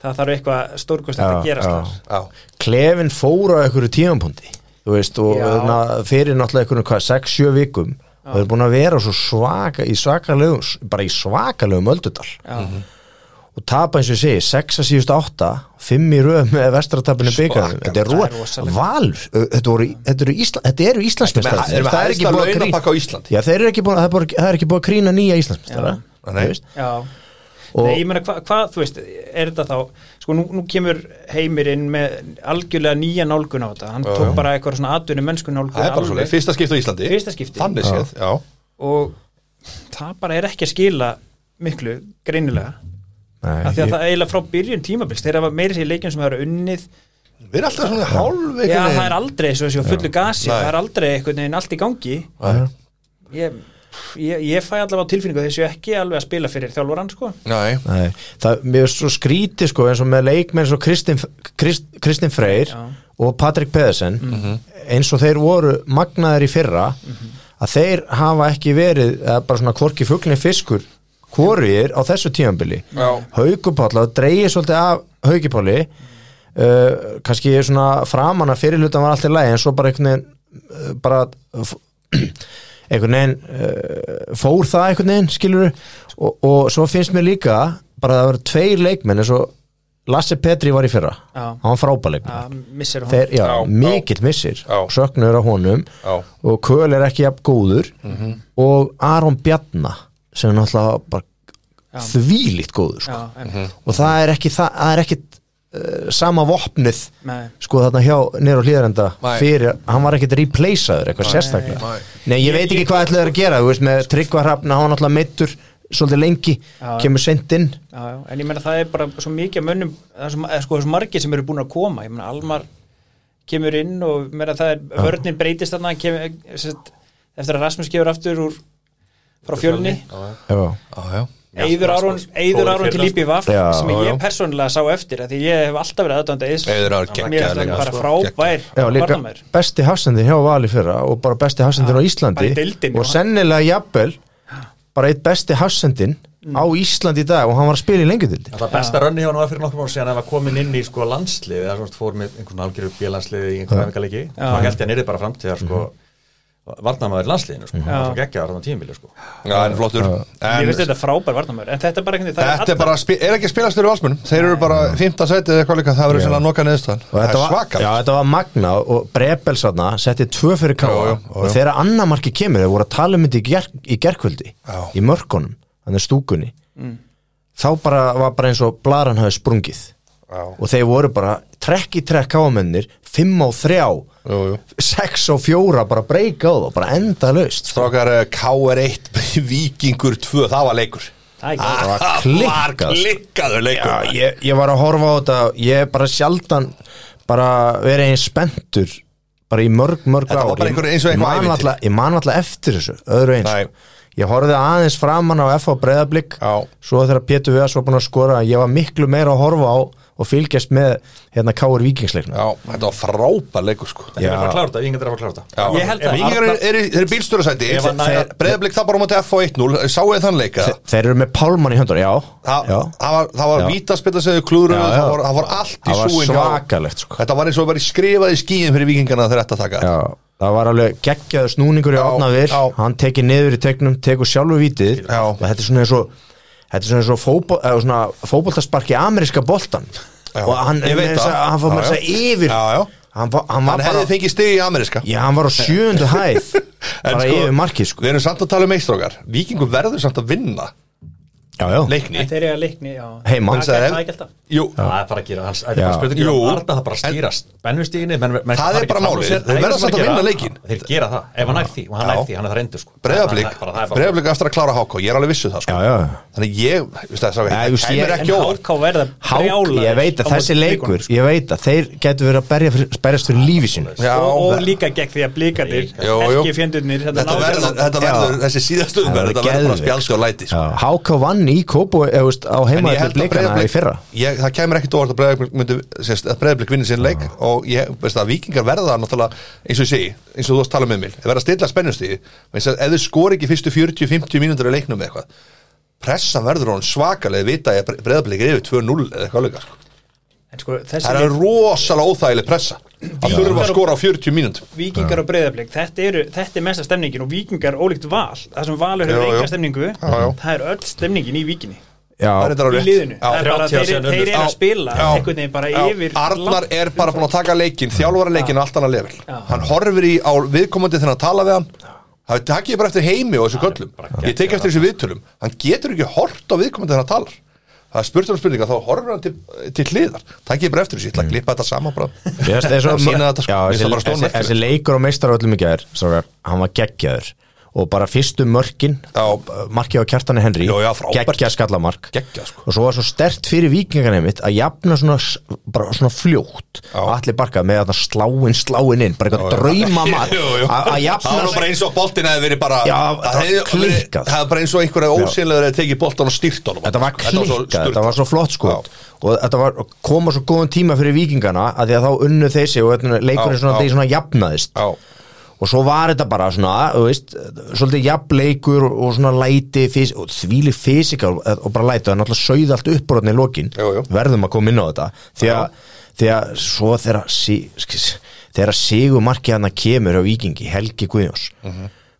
það þarf eitthvað stórkostið að
Já,
gerast
já.
þar
Já.
Klefin fór á einhverju tíðanpundi Þú veist, og
Já.
na, fyrir náttúrulega einhverjum hvað, 6-7 vikum og þeir eru búin að vera svo svaka í svakalegum, bara í svakalegum öldudal
Já.
og tapa eins og ég segi, 6 að síðust 8 5 í röð með vestratapinu byggarnum þetta er
Sko, það er
rúa,
rosalegt.
valur þetta, voru, þetta eru, Ísla, þetta eru Íslandsmeistar
Það er með hæsta launapakka á Íslandi
Já, þeir eru ekki búin, það er bara- það er ekki búin að krýna nýja Íslandsmeistara
Já. Nei.
þú veist.
Já,
Og-
Nei, ég meina hva- hvað, þú veist, er þetta þá sko nú, nú kemur heimir inn með algjörlega nýja nálgun á þetta hann
Já, já.
tók bara eitthvað svona atvinni mennsku nálgun
Það er bara
alveg.
svolítið, fyrsta skipti á Íslandi
Fyrsta skipti.
Þannig séð, já,
og það bara er ekki að skila miklu greinilega
Nei,
af því að
ég-
það er eiginlega frá byrjun tímabils þeir hafa meira sér leikjum sem það eru unnið
Við erum alltaf svona hálf
Já, það er aldrei svo þessi á fullu gasi
Nei.
það er aldrei einhvern veginn allt í gangi
aldrei
ég, ég, ég fæ allavega á tilfinningu að þeir séu ekki alveg að spila fyrir þjálfvaran sko
Nei,
Nei, það, mér er svo skrítið sko eins og með leikmenn svo Kristinn Krist, Kristinn Freyr
Já. Mhm.
og Patrik Pedersen eins og þeir voru magnaðir í fyrra að þeir hafa ekki verið eða bara svona kvorki fuglni fiskur hvorir á þessu tímanbili
Já.
Haukupáll, það dreigir svolítið af Haukupáli uh, kannski svona framan að fyrirlutan var allt í lagi en svo bara einhvern veginn uh, bara f- einhvern veginn uh, fór það einhvern veginn skilur og, og svo finnst mér líka bara að það voru tveir leikmenn eins og Lasse Petri var í fyrra
Já.
hann var frábæleikmenn
að missir hún
Þeir, já,
Já, já.
mikill missir
Já.
söknur á honum
Já.
og Köl er ekki jafn góður
Mhm.
og Aron Bjarna sem er náttúrulega bara þvílíkt góður sko.
Já, einmitt.
og það er ekki, það, það er ekki uh, sama vopnið
Nei.
sko þarna hjá nýra og hlýðarenda
Nei.
fyrir, hann var ekkit replaceaður eitthvað sérstaklega
Nei.
Nei, ég veit ekki hvað ætlaður að gera, þú veist, með tryggvarhafna hann var náttúrulega meittur svolítið lengi
Já.
kemur sent inn
Já, já, en ég meina það er bara svo mikið af mönnum, það er svo, eða sko, svo margir sem eru búin að koma, ég meina Almar kemur inn og ég meina það er, vörnin breytist þarna, hann kemur, sett, eftir að Rasmus kemur aftur úr frá fjölni,
Já,
já, já
Eiður Aron, Eiður Aron til Líbi Vaff,
Já,
sem
já.
ég persónulega sá eftir, af því ég hef alltaf verið aðdönda Eiðs,
Eiður Aron
mér
geggjaður
er
leikmaður,
það bara
sko.
frábær,
Já, líka
varnarmaður.
besti hafsendin hjá Vali fyrra og bara besti hafsendin á
Já, bara
Íslandi
í deildinni,
og
já.
sennilega jafnvel bara eitt besti hafsendin
Mm.
á Íslandi í dag og hann var að spila í lengjudildi
Það besta rönni hjá hann var fyrir nokkrum ára síðan að var komin inn í sko landslið eða svona fór með einhvern algjöru bílanslið í einhvern aðvingalegi og hann held ég að nýrið bara framtíðar sko
Mhm.
varnamaður í landsliðinu sko, það var svo geggjaður þarna tímabili sko
Já, en flottur
Ég
en,
veist þetta frábær varnamöður, en þetta er bara einhvern veginn, það
Þetta er bara, spi- er ekki að spilast fyrir valsmunum Þeir eru bara 15 sætið eða eitthvað líka Það verður svona nokkað neðstöðan
Og
Það
þetta
er
var,
svakar
já, þetta var magna og Brebel satna, setti tvö fyrir
Já, já,
káa
já, já.
og þegar annamarki kemur, þeir voru að tala um þetta í, ger, í gerkvöldi,
Já.
í mörkunum þannig stúkunni þá bara var bara eins og blaran hafi sprungið
Já,
og þeir voru bara trekk í trekk káamennir, fimm á þrjá
jú, jú
sex á fjóra, bara breyka á það bara enda laust
Strákar eh, KR1, Víkingur 2 Það var leikur
er ekki
Það
var
var
klikkað.
klikkaður leikur
Já, ég, ég var að horfa á þetta ég er bara sjaldan bara verið einn spenntur bara í mörg, mörg
Þetta var
ár
bara
Ég-
einhver- eins og
ég
einhver
man
ævintýri.
varla- Ég man alltaf eftir þessu, öðru eins sko.
Nei.
Ég horfði aðeins framan á FH Breiðablík
Já.
svo þegar Pétur Viðars var búin að skora ég var miklu meira að horfa á og fylgjast með hérna Káur Víkingsleiknum
Já, þetta var frábær leikur sko
Ég er að fara
Já.
að klára þetta, ég er að fara að klára þetta
Ég held að-
Víkingar eru er, er bílstjórasæti
Ef að næja-
Breiðablík það bara á móti F og 1-0 Sáu þið þann leika
Þeir eru með Pálmann í höndur, já,
Það,
já.
það var, það var
Já.
vítaspita sem þau klúruðu,
Já, já.
það, var- það var allt í
Það var
súin hjá-
svakalegt, sko.
Þetta var eins og verið skrifað í skíin fyrir vikingarna þegar þetta taka
Já, það var alveg geggjaður snúningur í
Já,
átnaðir,
já.
hann tekið niður í tegnum tekur sjálfur vítið
Já.
og þetta er svona eins og þetta er svona eins og fótbol, eða svona fótboltasparki ameríska boltan
Já,
og hann,
ég veit
hann,
það.
hann fór
Já,
með
já.
þess að yfir
Já, já.
Hann, var- hann
Hann
var bara
hefði fengið stig í ameríska
já, hann var á sjöndu hæð
En
bara
sko-
yfir markið sko
Við erum samt að tala um meistrókar Víkingur verður samt að vinna
Já, já.
leikni
Þetta er ég að leikni, já
Heima.
Það er ekki alltaf
Jú,
Það er bara að gera hans, það
Já.
er bara spurning
Jú.
um Arda það bara að stýrast Bennustíginni, menn, menn,
Það er bara málið. Þeir verða samt að vinna leikinn.
Þeir gera það, ef hann nær því, og hann
Já.
nær því, hann er það reyndur sko
breyðablík
Það er bara- það er bara-
breyðablík eftir að klára háká, ég er alveg vissu það sko.
Já, já.
þannig ég, veist það, það
Já, þú
það
veist,
kæmur
ég-
ekki
En
óvart
HK verða
Hák,
brjálaðir
ég veit
á
að þessi
móti sko.
leikur
Blikunum,
ég veit að þeir getur verið að berja fyrir, berjast fyrir lífi sínu
Já,
sko. og, og líka gegn því að blíkadir
Jú, jú.
ekki fjendurnir hérna,
þetta verður, þetta
Já.
verður þessi síðastu
Það
umverð,
verður
þetta verður bara
geðveikt.
spjálsi og læti sko.
Hák vann í Kópu veist, á
En ég
heimaðið
held að
blikana í fyrra
Breiðablik- ég, það kemur ekkit óvart að breyðablík myndi, sérst, að breyðablík vinni sín leik og ég, veist það, vikingar verða náttúrulega eins og ég segi, eins og þú varst að tala um Emil, þeir verða að stilla spennustíði, veist að ef þau skori ekki fyrstu 40-50 mínútur í leiknum eða eitthvað pressan verður honum svakalega vita að breyðablík er yfir 2-0 eða eitthvað alveg sko.
en sko þessi
það er
leik,
rosalega óþægileg pressa að þurfa að skora á 40 mínútum
vikingar og breyðablik þetta, eru, þetta er mesta stemningin og vikingar ólíkt val það sem valur hefur
Jú, jú.
enga stemningu
já.
það er öll stemningin í vikinni
Það er
Já,
þetta
í
alveg
liðinu,
Já.
það er bara
30
þeir,
sem
þeir eru
Já.
að spila
Já.
einhvern veginn bara
Já.
yfir
Arnar
langt
er bara búin að taka leikin þjálfara leikin allt annað level
Já.
hann horfir í á viðkomandi þegar hann tala við hann það takk ég bara eftir heimi og þessu göllum ég tek eftir þessu viðtölum hann getur ekki hort á viðkomandi þegar hann talar það er spurt um spurninga þá horfir hann til, til hliðar takk ég bara eftir þessu, ég ætla
Mm.
að klippa þetta saman bara
Ég veist, eins og-
sína þetta sko,
Já,
Mér finnst
þessi-
það bara
þessi-
stórmerkilegt.
þessi leikur á meistaröllum í gær strákar, hann var geggjaður og bara fyrstu mörkin
Já.
markið á kjartani Henry
Já, já, frábært.
geggja skallamark
Geggjað, sko.
og svo var svo stert fyrir vikingarnið mitt að jafna svona, s- bara svona fljótt
Já.
allir barkað með að sláin sláin inn bara eitthvað drauma
Jú, jú.
að að
Það var nú bara
jafna
eins og boltin hefði verið bara
Já,
það
það var
hefði verið-
klikkað.
Það var bara eins og einhverja ósynlega hefði tekið boltan og styrt honum
Þetta var
sko. svo
klikkað,
sturlað.
þetta var svo flott sko
Já.
og þetta var, koma svo góðan tíma fyrir vikingana að því að þá unnu þessi og hérna
Já,
leikurinn
já.
svona, þeir svona jafnaðist
Já,
og svo var þetta bara svona þú veist, svolítið jafnleikur og og svona læti fys og þvíli fysikal eh, og og bara læti og náttúrulega sögði allt uppbrotni í lokin
Jú, jú.
verðum að koma inn á þetta því að, því að svo þeirra sí, skis- þeirra sigumarki hann kemur á vikingi, Helgi Guðjóns uh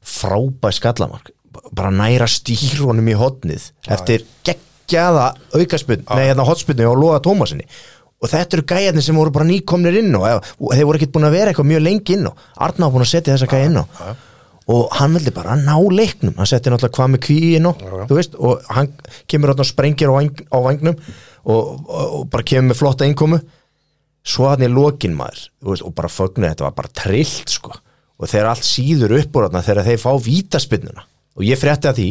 frábæð skallamark b- bara næra stýr honum í hotnið eftir geggjaða aukaspunn, nei hérna hotspunni og loða Tómasinni og þetta eru gæjarnir sem voru bara nýkomnir inn og eða- og þeir voru ekkert búin að vera eitthvað mjög lengi inn og Arna var búin að setja þessa gæja inn á og hann vildi bara ná leiknum hann setti náttúrulega hvað með kví inn á þú veist, og hann kemur þarna og sprengir á, vang, á vangnum og, og, og bara kemur með flotta innkomu svo hann er lokin maður þú veist, og bara fögnuði þetta var bara trillt sko. og þeir allt síður upp úr þarna þegar þeir fá vítaspinnuna og ég frétti að því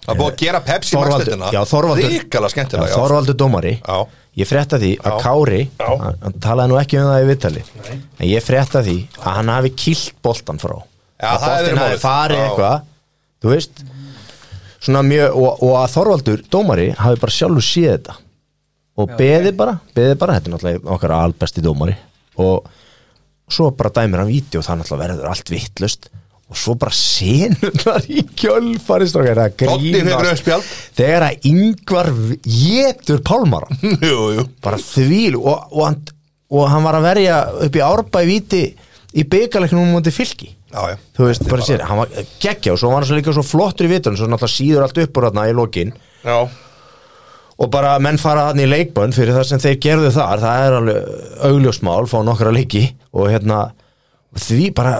það er búið að gera Pepsi
Þorvaldur,
Maxletina
já, Þorvaldur,
Ríkala skemmtilega
já, Þorvaldur Dómari
Já.
ég frétta því að
Já.
Kári
Já.
hann, hann talaði nú ekki um það í viðtali en ég frétta því að hann hafi kilt boltan frá
Já,
að
það hefði verið
boltin hafi
málið.
farið
Já.
eitthvað þú veist svona mjög, og, og að Þorvaldur Dómari hafi bara sjálfur séð þetta og beði bara, beði bara þetta er náttúrulega okkar albesti dómari og svo bara dæmir hann víti og það náttúrulega verður allt vittlust og svo bara senurnar í kjölfaristrákar að
Doddi hefur rautt
grínast
spjald.
þegar að yngvar getur pálmara
Jú, jú
bara þvíl og, og, hann, og hann var að verja upp í árbæ viti í byggaleknum múndi fylki
Já, já.
þú veist, bara sér, hann var geggja og svo var hann svo líka svo flottur í vitun svo náttúrulega síður allt upp úr þarna í lokin
Já,
og bara menn fara hann í leikbönn fyrir það sem þeir gerðu þar, það er alveg augljósmál, fá nokkra leiki og hérna, því bara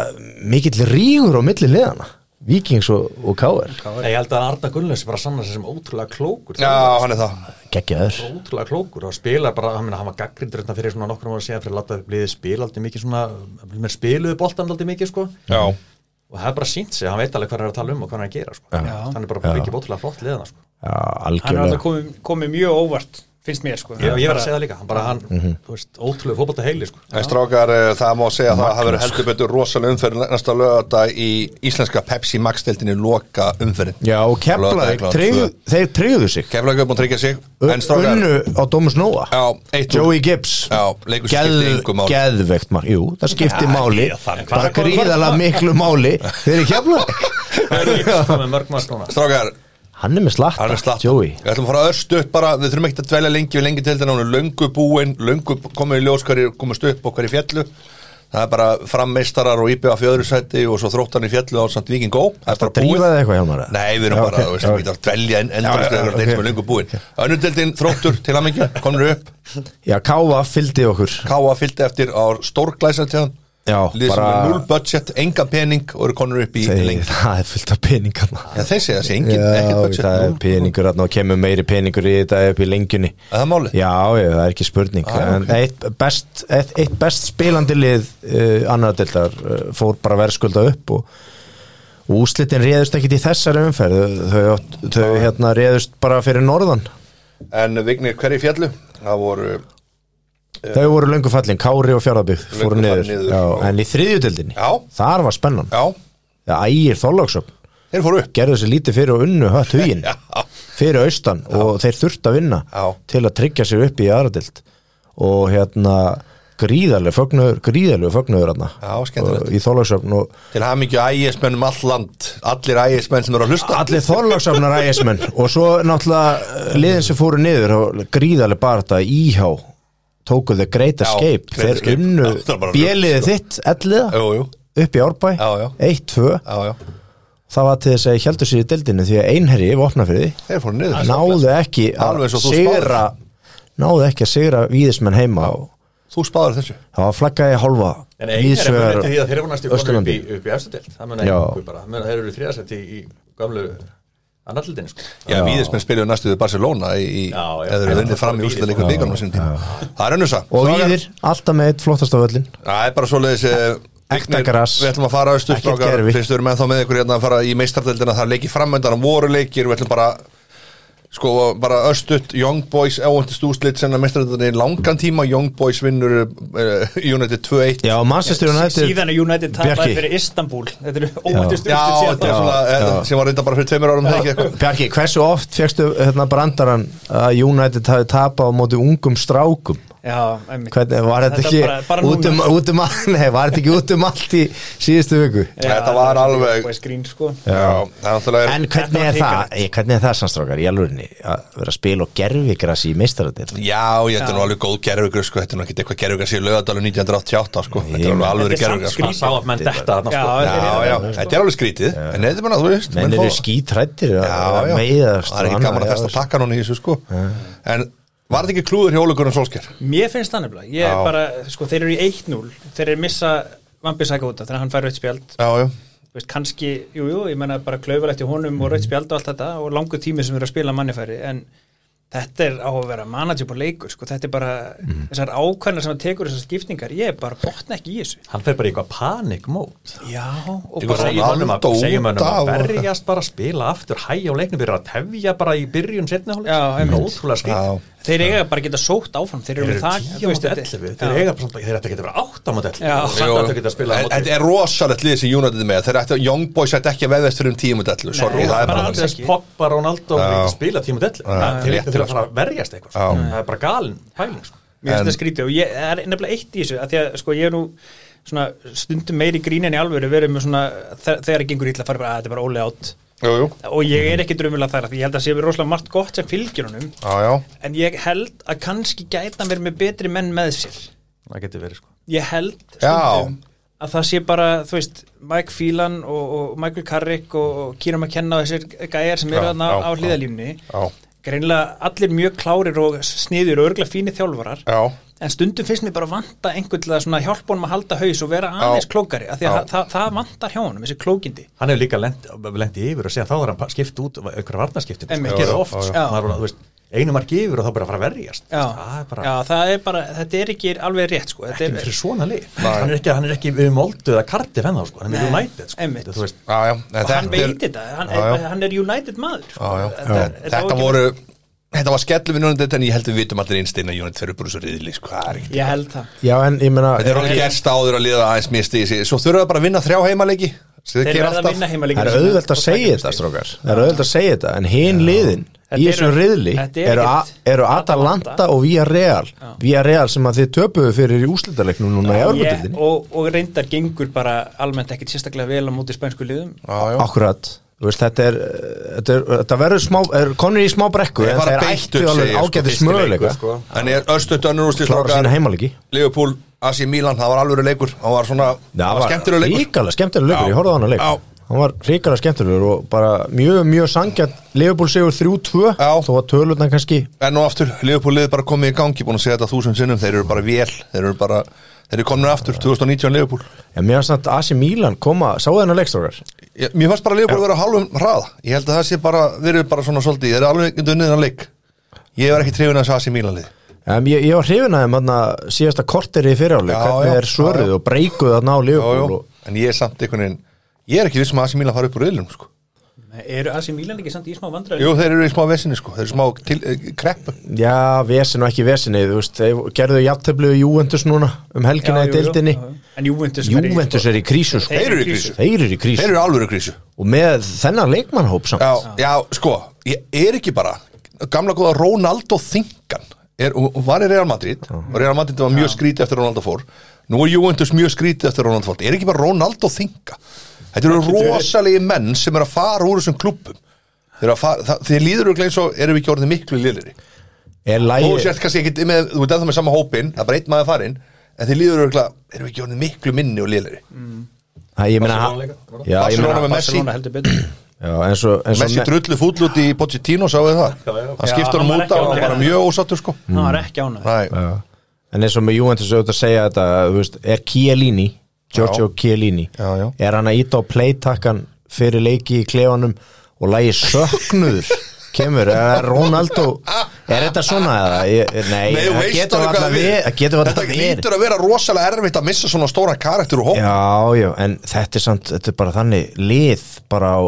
mikill rígur á milli liðana Víkings og, og Káir
Nei, Ég held að Arda Gunnlaus bara sannar sér sem ótrúlega klókur
já, hann er það
geggjaður
ótrúlega klókur og spilar bara, hann, meina, hann var gaggrindur hérna fyrir svona nokkrum ára síðan fyrir að láta liðið spila aldrei mikið svona, mér spiluðu boltan aldrei mikið sko
Já,
og það er bara sínt sig, hann veit alveg hvað hann er að tala um og hvað hann er að gera sko, hann er bara að byggja ótrúlega flott liðana sko,
Já,
hann er alltaf
algjörlega
komið, komið mjög óvart finnst mér sko
ég, ég var
Bara-
að segja það líka, hann bara hann,
Mhm.
þú veist, ótrúlega fótbolta heili sko
en strákar eh, það má segja að það hafi verið heldur betur rosalega umferð næsta lögata í íslenska Pepsi Max-deltinni loka umferðin
Já, og Keflavík, tryggðu, þeir tryggðu sig
Keflavík er búin að tryggja sig En strákar,
Unnu á Dómus Nóa
já, eitt
Joey Gibbs
Já, leikur sem skipti engu máli.
Geðvegt mark, jú, það skipti máli
ég- það-
Bara
hvað-
gríðalega miklu máli Þeir eru hérna.
Það
Keflavík
er ekki sko með mörg maður núna
Strákar,
Hann er með slatta,
Hann er slatta
Joey
Við ætlum að fara örst upp bara Við þurfum ekkert að dvelja lengi við lengi til þannig Hún er löngu búin, löngu komið í ljós hverju komast upp og hverju fjallu Það er bara frammeistarar og IBF í öðru sæti og svo þróttan í fjallu á samt Viking Go Það er bara búið
Drífaði eitthvað hjá maður
Nei, við erum
Já,
bara,
ok,
þú veist,
já.
við getum að dvelja en endurist
Já, já,
þegar þeir
ok.
sem er löngu búin Önnudeldin, þróttur, til að mikið, komnur upp
Já, Káfa fylgdi okkur
Káa fylgdi eftir á stórglæsa til hann
Já,
lið sem
bara-
er null budget, engan pening og eru konur upp í
Þeir,
lengt
það er fullt af peningarna
Já, þeir segja þessi, engin,
Já,
ekkert budget
það er
núll.
peningur þarna og kemur meiri peningur í þetta upp í lengjunni
Er það málið?
Já, ég, það er ekki spurning
Ah,
En
ok.
eitt best, eitt, eitt best spilandi lið uh, annar deildar uh, fór bara verðskulda upp og og úrslitin réðust ekkit í þessari umferð Þau- þau, átt- þau
Ah.
hérna réðust bara fyrir norðan
En Vignir, hverju fjallu? Það voru,
Þau voru löngu fallin, Kári og Fjárðabík fóru
fallin
niður,
niður,
Já,
og-
en í þriðjutildinni
Já.
þar var spennan,
já,
það ægir Þorláksöfn
þeir fóru upp
gerðu sér lítið fyrir og unnu hött hugin fyrir austan og þeir þurft að vinna
Já.
til að tryggja sér upp í aðradild og hérna gríðarlega fögnuður, gríðarlega fögnuður hérna
Já, skemmtilegt.
Og í Þorláksöfn og
Til hamingju ægismenn um all land Allir ægismenn sem eru að hlusta
allir Þorláksöfnar ægismenn og svo náttúrulega eh, liðin sem fóru niður og gríðarlega bara þetta íhá tóku þeir great
Já,
escape
Great
þeir
Escape.
unnu
Já, það var bara
bjeliðið
rugl, sko.
þitt elliða
Jú, jú,
upp í Árbæ,
Já, já.
1-2
já, já,
það var til þess að ég heldur sér í deildinu því að einherji vopna fyrir því
þeir fóru niður
náðu ekki að
Alveg eins og þú
sigra náðu ekki að sigra víðismenn heima og
Þú spáður þessu
það var flaggaði hálfa
En einhver er
víðsvegar
bara því að þeir eru næstu konur upp í,
Austurlandi.
upp í efstudelt Það mun
Já.
einhver bara, mun að þeir eru þriðasett í, í gamlu annarlildin sko.
Já,
Já.
Víðismenn spiluðu næstu við Barcelona í, í,
Já, já.
eða
Já,
þeir unnið
það
fram í
var
úrstæðleikum byggarnum á sínum tíma Það er önnusa
og víðir alltaf með eitt flottast af öllin
Það er bara svoleiðis eh,
Ekta
Vignir,
gras.
Við ætlum að fara austur
Ekkert
strákar
gervi.
Fyrst við erum ennþá með ykkur hérna að fara í meistardeldina Það er leikið framöndan að voru leikir Við ætlum bara Sko bara östut Young Boys Óvæntist úslit sem að meistardeldina í langan tíma Young Boys vinnur uh, United 2-1
já, Manchester United
síðan að United tapaði
Bjarki.
fyrir Istanbul þetta eru óvæntist
Já, þetta er
úrslit
svona,
Já,
eh,
já.
sem var reynda bara fyrir tveimur árum sko. það ekki eitthvað
Bjarki, hversu oft fegstu hérna brandaran að United hafi tapað á móti ungum strákum
síðan
hvernig, var þetta ekki
bara, bara
út um,
núna.
út um all, nei, var þetta ekki út um allt í síðustu viku
Já,
Þetta
það
var
svona
alveg-
boys green, sko.
Já, það er náttúrulega
en
er-
hvernig
var
er það,
hrikalegt.
eh, hvernig er það samstrákar í alvörinni að vera að spila og gerfigras í meistaradild
Já, ég þetta er nú alveg góð gerfugur sko, þetta er nú ekkert eitthvað gerfugur sér lögadalur 1988 sko, þetta er alveg alveg
Þetta er samt
gerfugur sko.
skrítið.
Sá að menn þetta þarna,
Já,
sko.
Já, já, þetta er alveg skrítið, en þetta er bara, þú veist,
menn
menn
eru
fá-
skítrættir
Já, já,
meiðast
það er
og
ekki
annað,
gaman að
já,
festa
þessu.
takkan hún í þessu sko En var þetta ekki klúður hjá Ólegurum Solskjær?
Mér finnst það nefnilega, ég
Já.
er bara, sko, þeir eru í 1-0, þeir eru missa Vambi Saka út af, þannig að hann fær rautt spjald,
Já, já,
Þú veist, kannski, jú, jú, ég menna bara klaufalætt í honum og rautt spjald og allt þetta og langu tími sem eru að spila mannifæri, en þetta er á að vera manageable leikur, sko, þetta er bara, þessar ákvæmna sem að tekur þessar skiptingar, ég bara botna ekki í þessu.
Hann fer bara í eitthvað panikmót
Já,
Þetta
og
er
bara,
svona-
Segjum mönnum að,
Ronaldo
segjum mönnum
út af-
að berjast bara spila aftur hægja á leiknum byrja að tefja bara í byrjun setni hálf
Já,
Það er
einmitt.
já,
ótrúlega skrýt
þeir eiga bara að geta sótt áfram, þeir
Þeir
eru
eru
með það,
tíu á móti 11 Þeir
já.
eiga bara samt- þeir ættu að geta verið átt á móti 11
Já.
og samt
Jú,
ættu að geta að spila á
en- Þetta
móti
er rosalegt lið sem United er með Þeir ætti, Young Boys ætti ekki að veðast fyrir um tíum út allu Sorry,
Nei,
það er
bara
bara
alls
aðeins
ekki.
poppa Ronaldo og
Já.
ekki spila tíma dellu
Já.
til
Réttilega,
til að fara að verjast
Já.
eitthvað sko. það er bara galin pæling sko.
Mér
En-
finnst það skrítið og ég það er nefnilega eitt í þessu að því að sko ég er nú svona stundum meiri grín en í alvöru verið með svona þe- þegar það gengur illa farið bara að þetta er bara ólega átt
Jú, jú,
og ég er ekki drömmulega þar af því ég held að sé verið rosalega margt gott sem fylgir honum
já, já
en ég held að kannski gæta hann verið með betri menn með sér
það getur verið sko.
ég held
Já.
stundum að það sé bara þú veist Mike Phelan og, og Michael Carrick og, og Kieran McKenna og þessir gæjar sem
Já,
eru þarna á,
já,
á hliðalínunni
Já,
greinilega allir mjög klárir og sniður og örgla fínir þjálfarar
já,
en stundum finnst mér bara vanta einhvern til að svona hjálpa honum að halda haus og vera aðeins
Já.
klókari af því að
Já.
það, það, það vantar hjá honum, þessi klókindi
hann hefur líka lent, lent yfir og séðan þá er hann bara skipt út einhverja varnaskipti sko.
Einmitt.
það gerir
Já,
það oft
já,
sko.
já.
Maður er bara, þú veist, einu mark yfir og þá bara að fara að verjast
já.
það er bara
já, það er bara, þetta er ekki alveg rétt sko. þetta
ekki
er,
fyrir svona lið hann er ekki, hann er ekki við moldu eða karti fenn þá sko. hann er
Nei,
United sko.
einmitt.
Þú veist,
já, já en
og hann
þetta er-
veit þetta, hann,
Já, já.
Er, hann er United maður sko.
Já, já.
Þetta, þetta á
Þetta
ekki-
voru, þetta var skellu við United En ég held við vitum allir einstein að United fyrir bara svo riðli sko, það er ekki
ég held það
já en ég meina
Þetta er alveg gerst áður að liða aðeins misti Svo þurfa bara að vinna þrjá heimaleiki Þeir
þeir verða að vinna
það
heimalegina
er auðvelt að segja þetta strókar það er auðvelt að segja þetta en hinn liðin
Þetta
í
eru-
þessum riðli
þetta er
eru, a,
ekkert-
eru Atalanta og Villarreal Villarreal sem að þið töpuðu fyrir í úslitaleiknum núna í
Ég,
örgutildinni
og, og reyndar gengur bara almennt ekkit sérstaklega vel á móti spænsku liðum
Já, já
akkurat Þú Veist, þetta er, þetta er, þetta verður smá, er konur í smá brekku
Þeir
en
fara
þeir
beint
ættu
upp, segi ég,
alveg
sko,
ágætis
fyrsti
möguleika
leikur, sko. En er östut önnur úrslit
klára
strákar.
sína heimalegi
Liverpool, Asi Milan, það var alvöru leikur Það var svona, það var skemmtilega leikur
ríkala skemmtilega leikur,
Já.
ég horfði á hann að leik
Já.
hann var ríkala skemmtilegur og bara mjög, mjög sangjart Leopold sigur 3-2
Já.
þó var tölutna kannski
En nú aftur, Liverpool liði bara komið í gangi Búin að segja þetta þúsund sinnum, þeir eru bara vél Þeir eru bara, Þeir eru komin aftur 2019 Leopold
En mér finnst að AC Milan koma, sáðu þennan leikstrókar
Ég- Mér fannst bara Leopold að vera á hálfum hraða Ég held að það sé bara, þeir eru bara svona svolítið Þeir eru alveg ekki dunnið en leik Ég var ekki trefin að sasi Mílanlið
Um, ég, ég var hrifin að þeim þarna síðasta korteri í fyriráli,
Já,
hvernig
já,
er svöruð
já, já.
og breykuð að ná Liverpool og,
En ég er samt einhvern veginn Ég er ekki vissum að Asi Mílan fara upp úr riðlum sko.
Eru Asi Mílan ekki samt í smá vandræði?
Jú, þeir eru í smá vesinni sko. Þeir eru smá til, eh, kreppu
Já, vesin og ekki vesinni, þú veist, þeir gerðu jafntöflu í Juventus núna um helgina í deildinni
En Júventus
Juventus er í krísu sko.
Þeir eru í krísu
Þeir eru í
Þeir
krísu
eru alvöru krísu
og með þennan leikmannhóp samt
já, já, sko, ég er ekki bara Gamla góða Ronaldo Thinkan er, hún hún var í Real Madrid og Real Madrid var mjög skrítið eftir Ronaldo fór Nú er Juventus mjög skrítið eftir Ronaldo fór Er ekki bara Ronaldo Thinka Þetta eru rosalegi menn sem er að fara úr þessum klubbum Þeir, eru að fara, það, þeir líður auðvitað eins og erum við ekki orðið miklu lilliri
Er
Þú
lægi,
sért kannski ekki með, þú ert ennþá með sama hópin Það er bara einn maður farinn En þeir líður auðvitað, erum við ekki orðið miklu minni og lilliri
það, ég meina
Barcelona líka, var það?
Já, ég meina
Barcelona með Messi
Barcelona heldur betur
já, eins og, eins og
Messi drullu fúll út í Pochettino, sáuðu það?
Já, já.
Hann
Já,
skiptur hann
hann
út
var ekki
af og
ánægður.
bara mjög ósattur sko
Hann var ekki ánað
Nei,
Já. En eins og með Juventus auðvitað að segja þetta þú veist, er Chiellini, Giorgio Chiellini
Já, já.
er hann að íta á playtakkan fyrir leiki í klefanum og lægi söknuður kemur, er Ronaldo er þetta svona eða? Ég- Nei,
Nei, þú
það
veist
getur
alveg
alltaf
hvað við-
verið það getur alltaf
Þetta
verið
lítur að vera rosalega erfitt að missa svona stóra karakter úr hóp
Já, já, en þetta er samt þetta er bara þannig lið bara, á,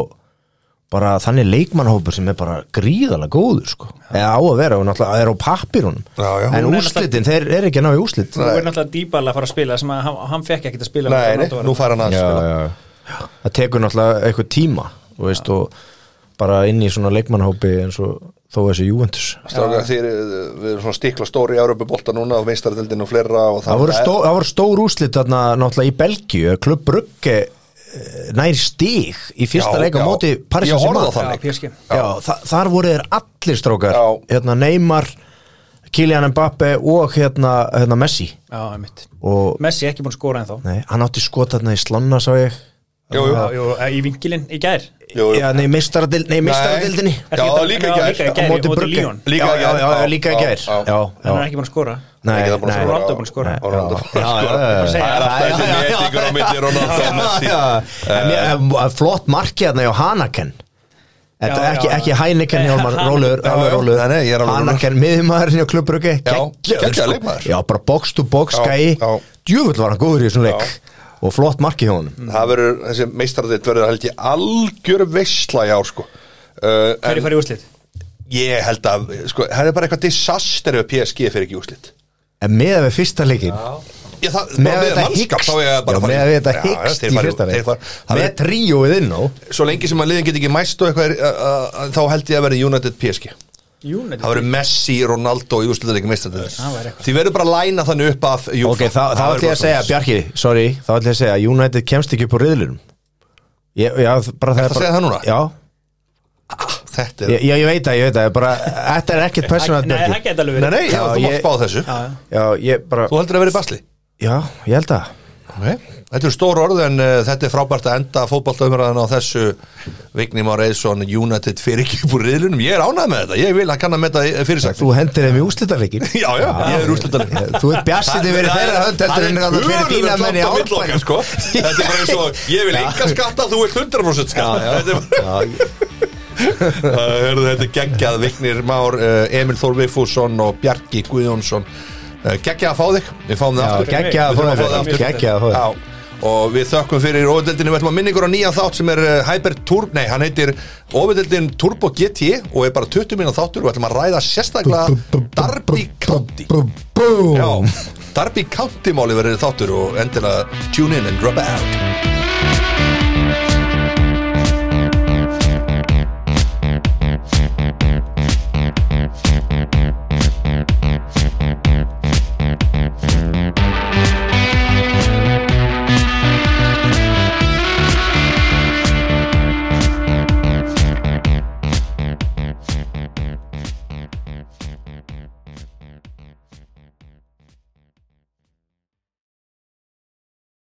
bara þannig leikmannhópur sem er bara gríðalega góður sko. eða á að vera og náttúrulega er á pappirunum
Já, já.
en
Hún er
úrslitin, þeir eru ekki að ná í úrslit
Nú er náttúrulega Dybala að fara að spila sem að hann, hann fekk ekki að spila með
Nei, nei,
Ronaldo var
nú
þarna.
fær hann að
já,
spila
já. það tekur náttúrulega eitthvað tíma þú veist, og bara inn í svona leikmannhópi eins og þó þessi Juventus
Strákar, þið eru- við erum svona stikla stóri í Európa bolta núna og meistaröldin og fleira og
það voru,
er-
stó, það voru stór úrslit þarna náttúrulega í Belgíu Klubb Brugge eh, nær stig í fyrsta
Já,
leika
já.
móti Paris
Ég horfði á
Saint-Germain.
þann
Já,
leik.
PSG.
Já, þa þar voru þeir allir strókar
Já.
hérna Neymar, Kylian Mbappe og hérna, hérna Messi
Já, einmitt
og
Messi ekki búin að skora ennþá
nei, hann átti skot þarna í slanna sá ég Hérna,
Jú, jú,
Já, jú, í vingilinn í gær
jú, jú.
Já, nei, meistaradildinni nei, meistaradildinni
Já, líka í gær.
Líka
á
í gær,
móti
móti
Brugge
Líón
Líka
Já,
í
já,
gær.
já,
Já,
já, líka í
já,
gær
já.
Já,
En
já
hann er ekki búin að skora
Nei,
Ekki það búin að
nei.
skora.
Ronaldo búin að skora.
Nei,
Og Ronaldo
já,
búin að
já,
skora.
já, já, já.
Það er alltaf
Já,
þessi
já, já.
metingur á milli Ronaldo og Messi
Já, já. En mér- en- en Flott markið þarna hjá Hanaken Þetta
Já,
er ekki,
já.
ekki Heineken hjá
Nei,
Hjálmar
Hanaken.
Róluður,
Já,
alveg
já. Nei, nei, ég er
róluður
alveg
Hanaken miðjumæðurinn hjá klubbruggi
geggjaður leikmaður.
Já, bara box to box
Já,
gæi
já.
Djöfull var hann góður í þessum leik Og flott markið hjá honum
Það verður, þessi meistaröld verður held ég algjör veistla í ár sko Uh, en
Hverju farið úrslit?
ég held að sko, það er bara eitthvað disaster ef PSG fyrir ekki úrslit
En með að við fyrsta leikin
Já, það,
Með að
bara
þetta
mannskap,
hyggst
þá er ég bara
Já,
að fara
með
í-
að þetta
Já,
hyggst
þeir
í
fara-
fyrsta
þeir
leik
fara- það
Með
verður-
tríóið inn á
svo lengi sem að liðin get ekki mæst og eitthvað er, að- að- að- þá held ég að verði United PSG
United
það verður Messi, Ronaldo í úrslutarík
það væri
meistardöðis
eitthvað.
því verður bara að læna þannig upp af UEFA.
Ok, þá
verður
þá ætlum ég
bara
að segja,
svoleiðis.
Bjarki Sorry, þá ætlum ég að segja að United kemst ekki upp úr riðlunum Ég- Já, bara það
Ertu að segja það núna?
Já,
þetta
ég,
er,
ég, ég veit að, ég veit að bara, Þetta er ekkert personat
Nei, það geta alveg
nei,
verið
nei, já,
Já,
þú mátt
ég-
spá þessu
Já, já.
Já, ég bara
þú heldur að verði basli
Já, ég held að
okay. þetta eru stór orð en uh, þetta er frábært að enda fótballtaumræðan á þessu Vigni Már Eðsson, United fyrir ekki upp úr riðlunum, ég er ánægð með þetta ég vil að kanna með þetta fyrir sig
Þú hendir þeim í úslitaleikin
já, já, ég er úrslutarík
Þú ert bjassin yfir þeirra hönd heldur en það fyrir þína menn í
árbæn
árbæn
sko. Þetta er bara eins og ég vil enga skatta þú ert 100% skatta Þetta er bara- Það hörðu, Þetta er geggjað Vignir Már, eh, Emil Þór Viffússon og Bjarki Guðjónsson Eh, Geggjað að fá þig, við fáum það aftur
Gekkja að
Við þurfum
fóða
að fá það aftur.
Gekkja að fóða
Já, og við þökkum fyrir ofindeldinu, við ætlum að minna ykkur á nýjan þátt sem er eh, Hyper Turbo, nei, hann heitir ofindeldin Turbo GT og er bara 20 minna þáttur og við ætlum að ræða sérstaklega Darby County
Búm
Já, Darby County máli verið þáttur og endilega tune in and drop out